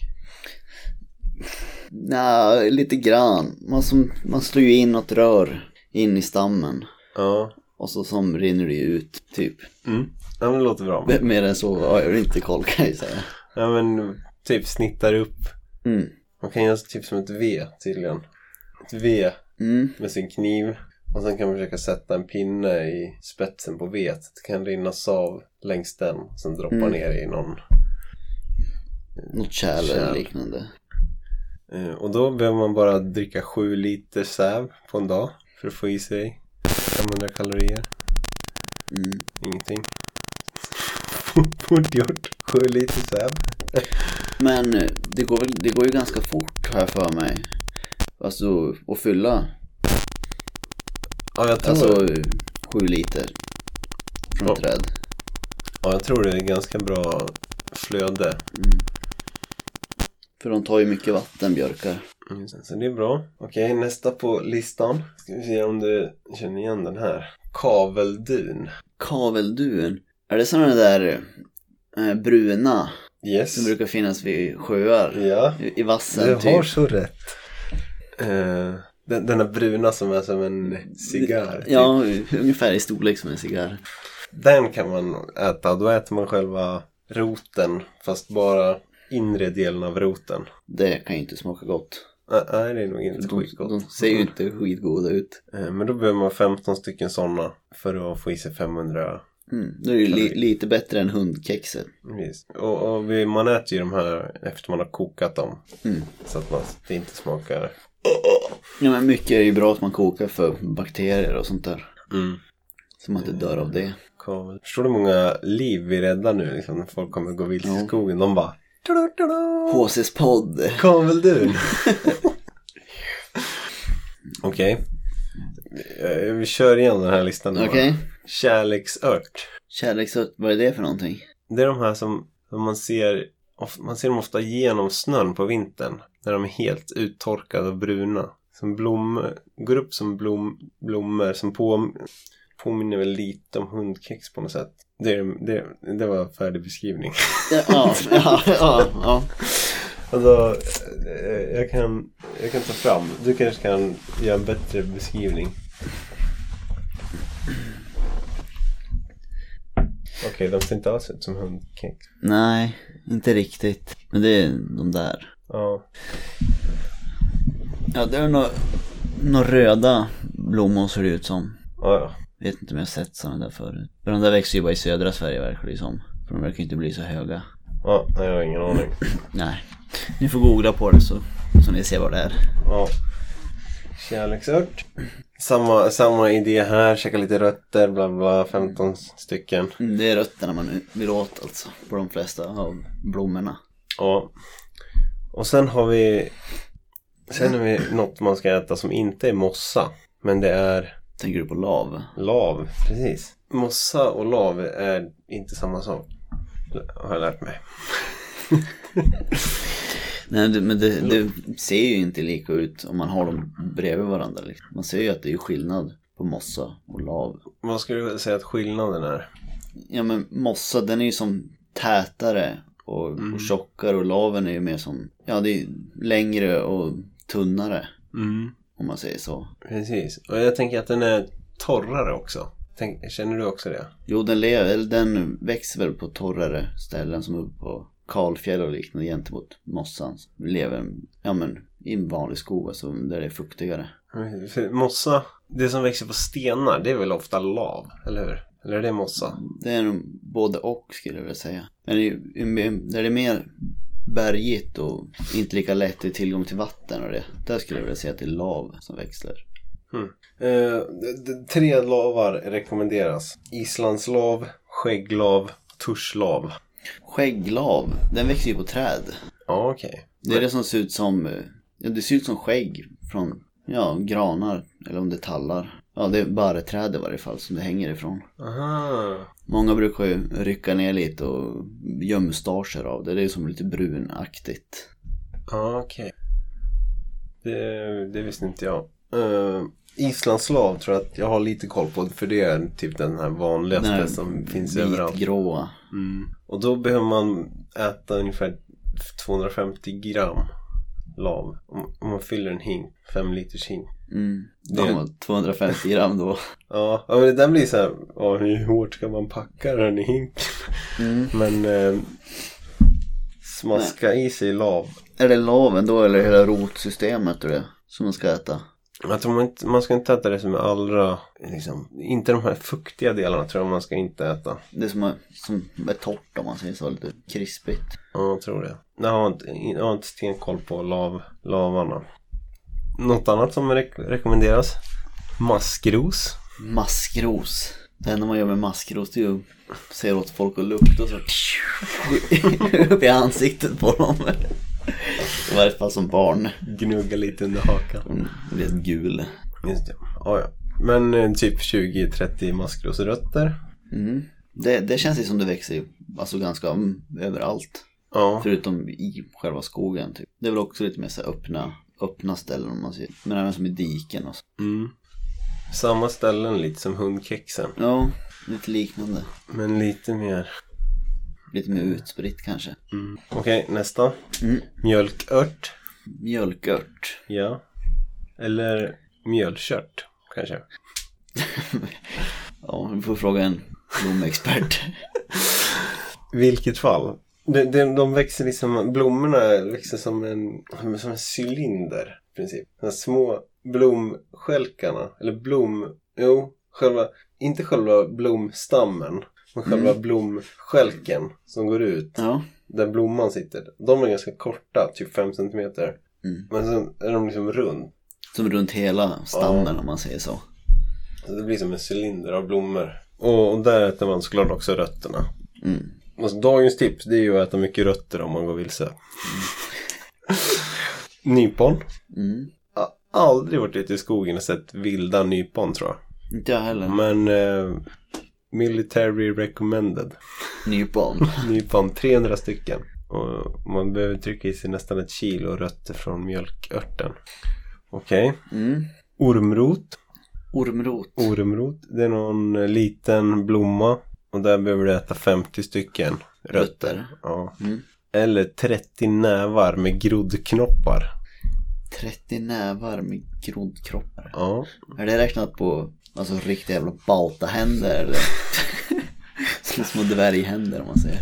A: Nja, lite grann. Man, som, man slår ju in något rör in i stammen.
B: Ja.
A: Och så som rinner det ju ut, typ.
B: Mm. Ja men det låter bra.
A: Men Mer än så har jag inte koll kan jag ju säga.
B: Ja men typ snittar upp.
A: Mm.
B: Man kan göra typ som ett V tydligen. Ett V
A: Mm.
B: med sin kniv. Och sen kan man försöka sätta en pinne i spetsen på vetet. Det kan rinna sav längs den. Sen droppa
A: Mm.
B: ner i någon.
A: Något kärl eller
B: Kärl.
A: liknande.
B: Eh, Och då behöver man bara dricka sju liter säv på en dag. För att få i sig 500 kalorier.
A: Mm.
B: Ingenting. (laughs) Fort gjort. Sju liter säv.
A: Men eh, det går, väl, det går ju ganska fort här för mig. Alltså att fylla,
B: Ja, jag tror,
A: alltså sju liter från
B: Ja.
A: ett träd.
B: ja, jag tror det är ganska bra flöde.
A: För de tar ju mycket vatten, björkar.
B: Mm, Så det är bra. Okej, nästa på listan. Ska vi se om du känner igen den här. Kaveldun.
A: Kavelduen, är det sådana där eh, bruna
B: Yes.
A: som brukar finnas vid sjöar?
B: Ja,
A: I, i vassen
B: du
A: typ?
B: har så rätt. Eh, den, den här bruna som är som en cigarr. Typ.
A: Ja, ungefär i storlek som en cigarr.
B: Den kan man äta. Då äter man själva roten. Fast bara inre delen av roten.
A: Det kan ju inte smaka gott.
B: Ä- Nej, det är nog inte
A: De,
B: skitgott.
A: de ser ju inte skitgoda ut.
B: Eh, Men då behöver man 15 stycken sådana för att få i sig 500.
A: Mm. Det är ju li, lite bättre än hundkexet.
B: Precis. Och, och vi, man äter ju de här efter man har kokat dem.
A: Mm.
B: Så att man, det inte smakar.
A: Ja men mycket är ju bra att man kokar för bakterier och sånt där.
B: Mm.
A: Så man inte dör av det.
B: Förstår du hur många liv vi räddar nu? Liksom, när folk kommer gå vilse
A: Ja.
B: i skogen. De bara...
A: HCs podd. (laughs)
B: Kaveldun! Okej. Eh, Vi kör igen den här listan. nu
A: Okej.
B: bara. Kärleksört.
A: Kärleksört, vad är det för någonting?
B: Det är de här som, som man ser of, man ser dem ofta genom snön på vintern. När de är helt uttorkade och bruna. Som blommor, går upp som blom, blommor som på, påminner väl lite om hundkex på något sätt. Det, är- det, det var en färdig beskrivning.
A: Ja, (laughs) ja, ja. ja,
B: (laughs) Alltså, eh, jag kan, jag kan ta fram. Du kanske kan göra en bättre beskrivning. Okej, de ser inte alls ut som hundkex.
A: Nej, inte riktigt. Men det är de där.
B: Ja.
A: Ja, det är några nå röda blommor ser det ut som.
B: Ja, ja.
A: Vet inte om jag har sett sådana där förut. För de där växer ju bara i södra Sverige verkar det ju som. För de verkar ju inte bli så höga.
B: Ja, nej, jag har ingen aning.
A: Nej. Ni får googla på det så, så ni ser vad det är.
B: Ja. Kärleksört. Samma, samma idé här, käka lite rötter, bla bla, 15 stycken.
A: Mm, Det är rötterna man vill åt alltså. På de flesta av blommorna.
B: Ja. Och sen har vi... Sen har vi något man ska äta som inte är mossa. Men det är
A: Tänker du på lav?
B: lav, precis. Mossa och lav är inte samma sak. Har jag lärt mig.
A: Nej det- men det, det ser ju inte lika ut om man har dem bredvid varandra. Liksom. Man ser ju att det är skillnad på mossa och lav.
B: Vad skulle du säga att skillnaden är?
A: Ja men mossa den är ju som tätare och, och tjockare och laven är ju mer som, ja det är längre och tunnare
B: Mm.
A: om man säger så.
B: Precis. Och jag tänker att den är torrare också. Tänk, känner du också det?
A: Jo den, lever, eller den växer väl på torrare ställen som uppe på kalfjäll och liknande gentemot mossan. Lever ja, men, i en vanlig skog alltså, där det är fuktigare.
B: För mossa, det som växer på stenar, det är väl ofta lav, eller hur? Eller är det mossa?
A: Det är nog både och skulle jag vilja säga. Men i- i- där det är mer bergigt och inte lika lätt till tillgång till vatten och det. Där skulle jag vilja säga att det är lav som växlar.
B: Eh, d- d- tre lavar rekommenderas. Islandslav, skägglav, tuschlav.
A: Skägglav, den växer ju på träd.
B: Ja, okej.
A: Det är det som ser ut som, eh, ja det ser ut som skägg från, ja granar eller om det är tallar. Ja det är barrträd i varje fall som det hänger ifrån.
B: Aha.
A: Många brukar ju rycka ner lite och göra mustascher av det. Det är som lite brunaktigt.
B: Ja, okej. Det, det visste inte jag. eh, islandslav tror jag att jag har lite koll på. För det är typ den här vanligaste
A: Den här
B: som finns överallt.
A: Vitgråa.
B: Och då behöver man äta ungefär 250 gram lav. Om, om man fyller en hink, 5 liters hink.
A: Mm.
B: Det-
A: De var 250 gram då.
B: Ja, ja, men det där blir så här, ja, hur hårt ska man packa den i hinken?
A: Mm.
B: Men eh, smaska i sig lav.
A: Är det laven då eller hela rotsystemet tror jag, som man ska äta?
B: Jag tror man, inte, man ska inte äta det som är allra, liksom, inte de här fuktiga delarna tror jag man ska inte äta.
A: Det som är, som är torrt om man säger så, lite krispigt.
B: Ja, jag tror det. Jag har inte, jag har inte stenkoll på lav, lavarna. Något annat som rek- rekommenderas? Maskros.
A: Maskros. Det enda man gör med maskros det är ju att säga åt folk att lukta och så (laughs) upp i ansiktet på dem. I varje fall som barn.
B: Gnugga lite under hakan.
A: Hon blev gul.
B: Just det. Ja, ja. Men eh, typ 20-30 maskrosrötter.
A: Mm. Det, det känns ju som det växer ju, alltså ganska mm, överallt.
B: Ja.
A: Förutom i själva skogen typ. Det är väl också lite mer så här öppna, öppna ställen om man ser. Men även som i diken och så.
B: Mm. Samma ställen lite som hundkexen.
A: Ja, lite liknande.
B: Men lite mer.
A: Lite mer utspritt kanske.
B: Mm. Okej, nästa.
A: Mm.
B: Mjölkört.
A: Mjölkört.
B: Ja. Eller mjölkört kanske.
A: Ja, vi får fråga en blomexpert.
B: Vilket fall. De, de, de växer liksom, blommorna växer som en, som en cylinder i princip. De här små blomskälkarna, eller blom, jo, själva, inte själva blomstammen, men själva blomskälken som går ut,
A: (laughs) ja.
B: där blomman sitter. De är ganska korta, typ 5 centimeter.
A: Mm.
B: Men sen är de liksom rund.
A: Som runt hela stammen om man säger så.
B: Så det blir som en cylinder av blommor. Och, och där äter man såklart också rötterna.
A: Mm.
B: Alltså, dagens tips det är ju att äta mycket rötter om man går vilse. nypon.
A: Mm.
B: Jag har aldrig varit ute i skogen och sett vilda nypon tror jag.
A: Inte jag heller.
B: Men eh, military recommended.
A: Nypon.
B: Nypon, 300 stycken. Och man behöver trycka i sig nästan ett kilo rötter från mjölkörten. Okej.
A: Mm.
B: Ormrot.
A: Ormrot.
B: Oh. Ormrot, det är någon eh, liten blomma. Och där behöver du äta 50 stycken rötter.
A: Rötter.
B: Ja.
A: Mm.
B: Eller 30 nävar med groddknoppar.
A: 30 nävar med groddkroppar.
B: Ja.
A: Är det räknat på alltså riktiga jävla baltahänder
B: (laughs)
A: eller? Som små dvärghänder om man säger.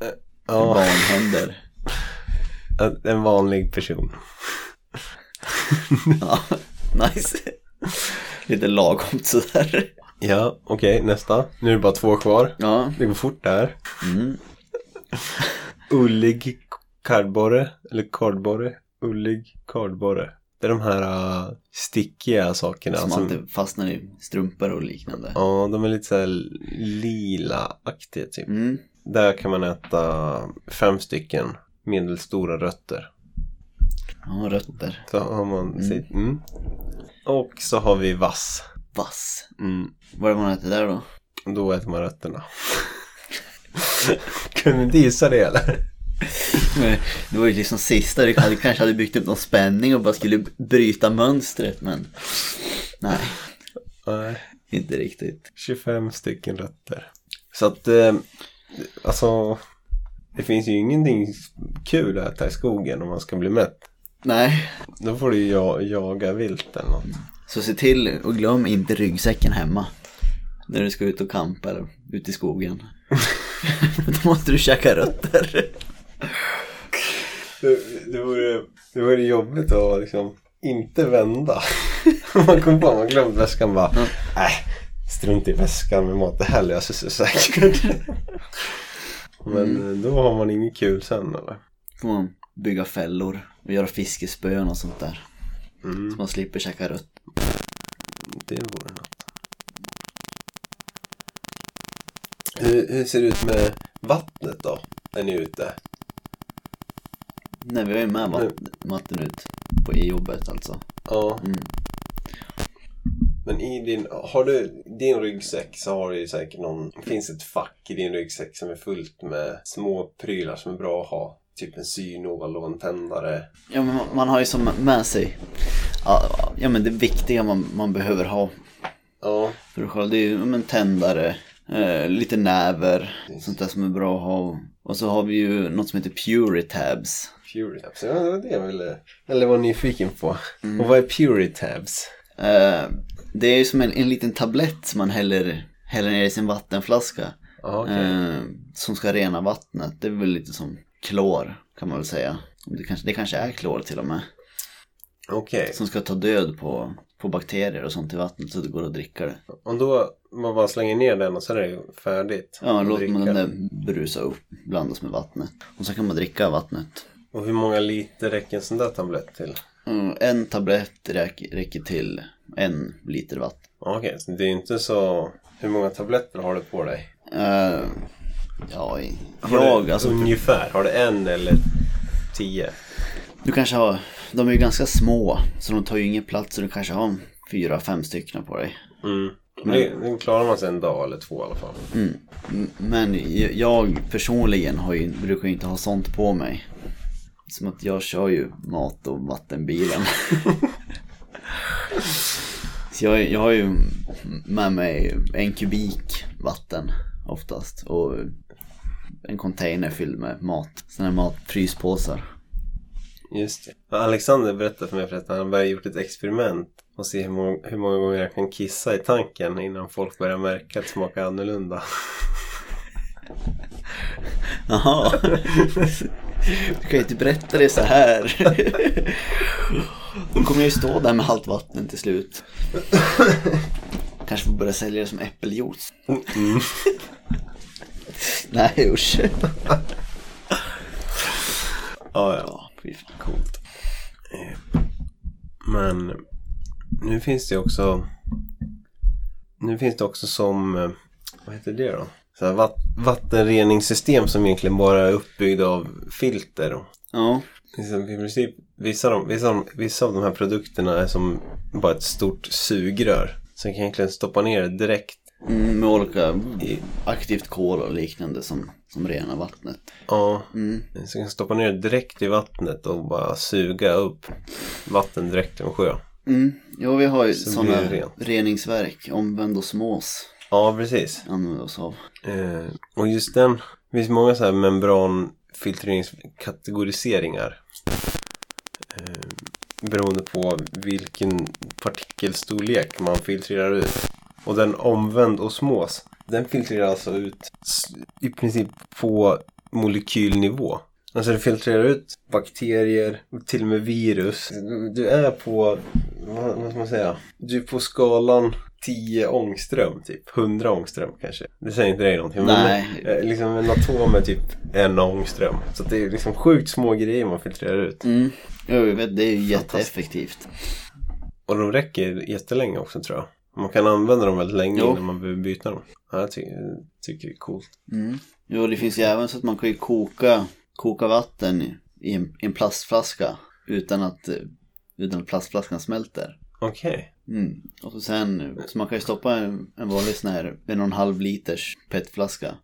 B: Eh, ja. (laughs)
A: Barnhänder.
B: en- En vanlig person.
A: Ja, nice. Lite lagom sådär.
B: Ja, okej, nästa. Nu är det bara två kvar.
A: Ja.
B: Det går fort det här.
A: Mm.
B: Ullig kardborre. Eller kardborre. Ullig kardborre. Det är de här äh, stickiga sakerna.
A: Som
B: som-
A: alltid fastnar i strumpor och liknande.
B: Ja, de är lite så här lila-aktiga typ.
A: Mm.
B: Där kan man äta fem stycken medelstora rötter.
A: Ja, rötter.
B: Så har man sitt... Mm. Och så har vi vass.
A: Vass.
B: Mm.
A: Vad är det man äter där då?
B: Då äter man rötterna. (laughs) Kunde du inte gissa det eller?
A: Men Det var ju liksom sista, du hade- kanske hade byggt upp någon spänning och bara skulle bryta mönstret men nej,
B: Nej.
A: inte riktigt.
B: 25 stycken rötter. Så att, eh, alltså. Det finns ju ingenting kul att äta i skogen om man ska bli mätt.
A: Nej,
B: Då får du ju ja- jaga vilt eller något.
A: så se till och glöm inte ryggsäcken hemma när du ska ut och campa eller ut i skogen. (laughs) Då måste du käka rötter.
B: Det, det, vore, det vore jobbigt att liksom inte vända. (laughs) man kom på att man glömt väskan bara. Nej, strunt i väskan med mat. Det här löser sig säkert. Men eh, då har man inget kul sen eller?
A: Får man bygga fällor och göra fiskespön och sånt där. Så man slipper käka rötter.
B: Det vore något. Hur, hur ser det ut med vattnet då? När ni är ute?
A: Nej, vi har ju med vatten, vatten ut på, i jobbet alltså.
B: Ja.
A: Mm.
B: Men i din, har du, din ryggsäck så har du ju säkert någon, finns ett fack i din ryggsäck som är fullt med små prylar som är bra att ha. Typ en synål och en tändare.
A: Ja, men man- man har ju som med sig ja, ja, men det viktiga man, man behöver ha
B: Ja,
A: för sig själv. Det är ju ja, men tändare, eh, lite näver, sånt där som är bra att ha. Och så har vi ju något som heter Puritabs.
B: Puritabs. Ja, det var det jag ville... Eller var nyfiken på.
A: Mm.
B: Och vad är Puritabs?
A: Eh, det är ju som en, en liten tablett som man häller, häller ner i sin vattenflaska.
B: Ja, okej.
A: Eh, som ska rena vattnet. Det är väl lite som klor kan man väl säga. Det kanske, det kanske är klor till och med.
B: Okej.
A: Som ska ta död på, på bakterier och sånt i vattnet så det går att dricka det.
B: Om då man bara slänger ner den och sen är det färdigt.
A: Ja,
B: Och
A: låter man
B: dricka.
A: den där brusa upp, blandas med vattnet. Och så kan man dricka vattnet.
B: Och hur många liter räcker en sån där tablett till?
A: Mm, En tablett räk- räcker till en liter vatten.
B: Ja, Okej, så det är inte så... Hur många tabletter har du på dig?
A: Eh, ja, i-
B: Har
A: jag
B: du,
A: alltså.
B: Ungefär, har du en eller tio?
A: Du kanske har, de är ju ganska små så de tar ju ingen plats så du kanske har fyra, fem stycken på dig.
B: Mm. Men det, den klarar man sig en dag eller två i alla fall.
A: M- Men j- jag personligen har ju, brukar ju inte ha sånt på mig. Som att jag kör ju mat och vattenbilen. (laughs) Så jag, jag har ju med mig en kubik vatten oftast och en container fylld med mat. Sådana här matfryspåsar.
B: Just det. Ja, Alexander berättade för mig för att han har gjort ett experiment och se hur många, hur många gånger jag kan kissa i tanken innan folk börjar märka att det smakar annorlunda. (laughs)
A: Jaha. Du kan ju inte berätta det så här. Då kommer jag ju stå där med halvt vatten till slut. Kanske får börja sälja det som äppeljuice.
B: Mm.
A: Nej usch.
B: Ja, ja.
A: Ja, fy fan coolt.
B: Men nu finns det ju också Nu finns det också som eh, Vad heter det då? Så här vat vattenreningssystem som egentligen bara är uppbyggda av filter.
A: Ja,
B: Liksom I princip, vissa, av de, vissa, av de, vissa av de här produkterna är som bara ett stort sugrör. Så jag kan egentligen stoppa ner det direkt
A: mm, med olika
B: i...
A: aktivt kol och liknande som, som renar vattnet.
B: Ja,
A: Mm.
B: så jag kan stoppa ner det direkt i vattnet och bara suga upp vatten direkt ur en sjö.
A: Mm. Ja, vi har ju
B: Så
A: sådana
B: blir det rent.
A: reningsverk, omvänd osmos
B: Ja, precis.
A: använder oss av.
B: Eh, och just den, det finns många så här membranfiltreringskategoriseringar. Eh, beroende på vilken partikelstorlek man filtrerar ut. Och den omvänd osmos, den filtrerar alltså ut s- i princip på molekylnivå. Alltså den filtrerar ut bakterier, och till och med virus. Du- Du är på, vad, vad ska man säga? Du är på skalan 10 ångström typ. 100 ångström kanske. Det säger inte dig någonting.
A: Nej.
B: Men, eh, liksom en atom är typ en ångström. Så att det är liksom sjukt små grejer man filtrerar ut.
A: Mm. Ja, jag vet, det är ju jätteeffektivt.
B: Och de räcker jättelänge också tror jag. Man kan använda dem väldigt länge
A: Jo.
B: innan man behöver byta dem. Ja, jag tycker, tycker det är coolt.
A: Mm. Jo, det finns ju även så att man kan ju koka, koka vatten i- i en, i en plastflaska utan att, eh, utan att plastflaskan smälter.
B: Okej.
A: Mm. Och så sen, så man kan ju stoppa en, en vanlig sån här en och en halv liters petflaska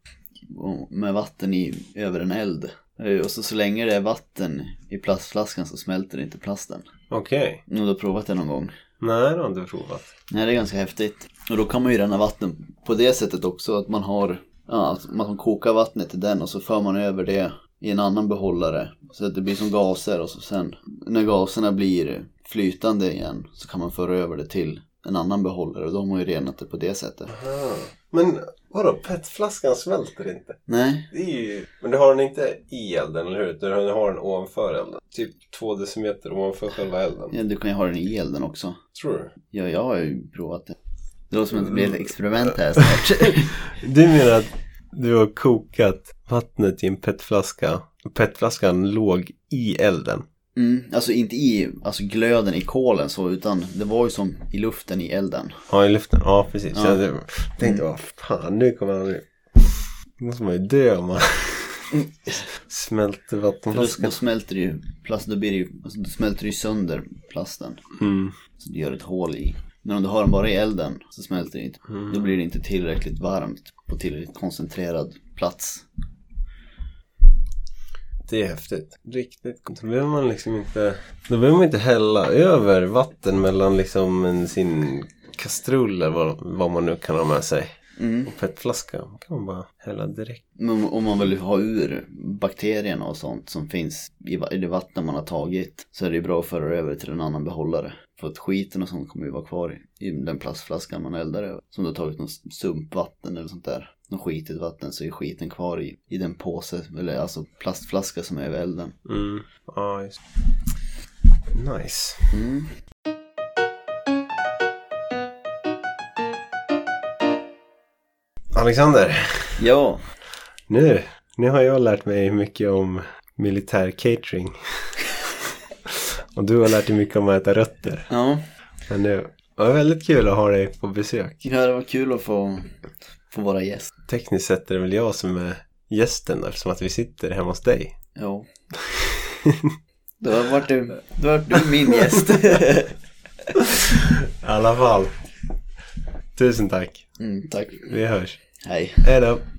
A: och- med vatten i, över en eld. Eh, Och så, så länge det är vatten i plastflaskan så smälter inte plasten.
B: Okej.
A: Om du har provat det någon gång.
B: Nej, det har jag inte provat.
A: Nej, det är ganska häftigt. Och då kan man ju rena vatten på det sättet också. Att man har, ja, alltså, att man kokar vattnet i den och så för man över det i en annan behållare. Så att det blir som gaser och så sen när gaserna blir flytande igen så kan man föra över det till en annan behållare och då har man ju renat det på det sättet.
B: Men vadå, petflaskan svälter inte?
A: Nej,
B: Det är ju... Men du har den inte i elden, eller hur? Du har- du har den ovanför elden. Typ två decimeter ovanför själva elden.
A: ja, du kan ju ha den i elden också.
B: Tror du?
A: Ja, jag har ju provat det. Det låter som att det blir ett experiment här snart.
B: Du menar att du har kokat vattnet i en petflaska och petflaskan låg i elden?
A: Mm, alltså inte i alltså glöden i kolen så utan det var ju som i luften i elden.
B: Ja, i luften. Ja, precis.
A: Ja.
B: Jag tänkte, vad fan, nu kommer han... Nu måste man ju
A: (laughs)
B: dö om man smälter
A: För då, då
B: vattenflaskan.
A: smälter det ju plast, då blir det ju, alltså, då smälter det ju sönder plasten.
B: Mm.
A: Så det gör ett hål i. Men om du har den bara i elden så smälter det inte. Då blir det inte tillräckligt varmt på tillräckligt koncentrerad plats.
B: Det är häftigt. Riktigt coolt. Då behöver man liksom inte, då behöver man inte hälla över vatten mellan liksom en, sin kastrull eller vad, vad man nu kan ha med sig.
A: Mm.
B: Och petflaska kan man bara hälla direkt.
A: Men Om om man vill ha ur bakterierna och sånt som finns i va- i det vatten man har tagit så är det ju bra att föra över till en annan behållare. För att skiten och sånt kommer ju vara kvar i den plastflaskan man eldar över. Som du har tagit något sumpvatten eller sånt där. Något skitigt vatten så är skiten kvar i, i den påse, eller alltså plastflaska som är över elden.
B: Mm. Ja, just Nice.
A: Mm.
B: Alexander,
A: Ja,
B: nu, nu har jag lärt mig mycket om militär catering. och du har lärt dig mycket om att äta rötter.
A: ja.
B: Men det var väldigt kul att ha dig på besök.
A: Ja, det var kul att få, få vara gäst.
B: Tekniskt sett är det väl jag som är gästen eftersom att vi sitter hemma hos dig.
A: Ja. Då vart du, då vart du min gäst.
B: I alla fall. Tusen tack.
A: Mm, tack.
B: Vi hörs.
A: Hej.
B: Hej då.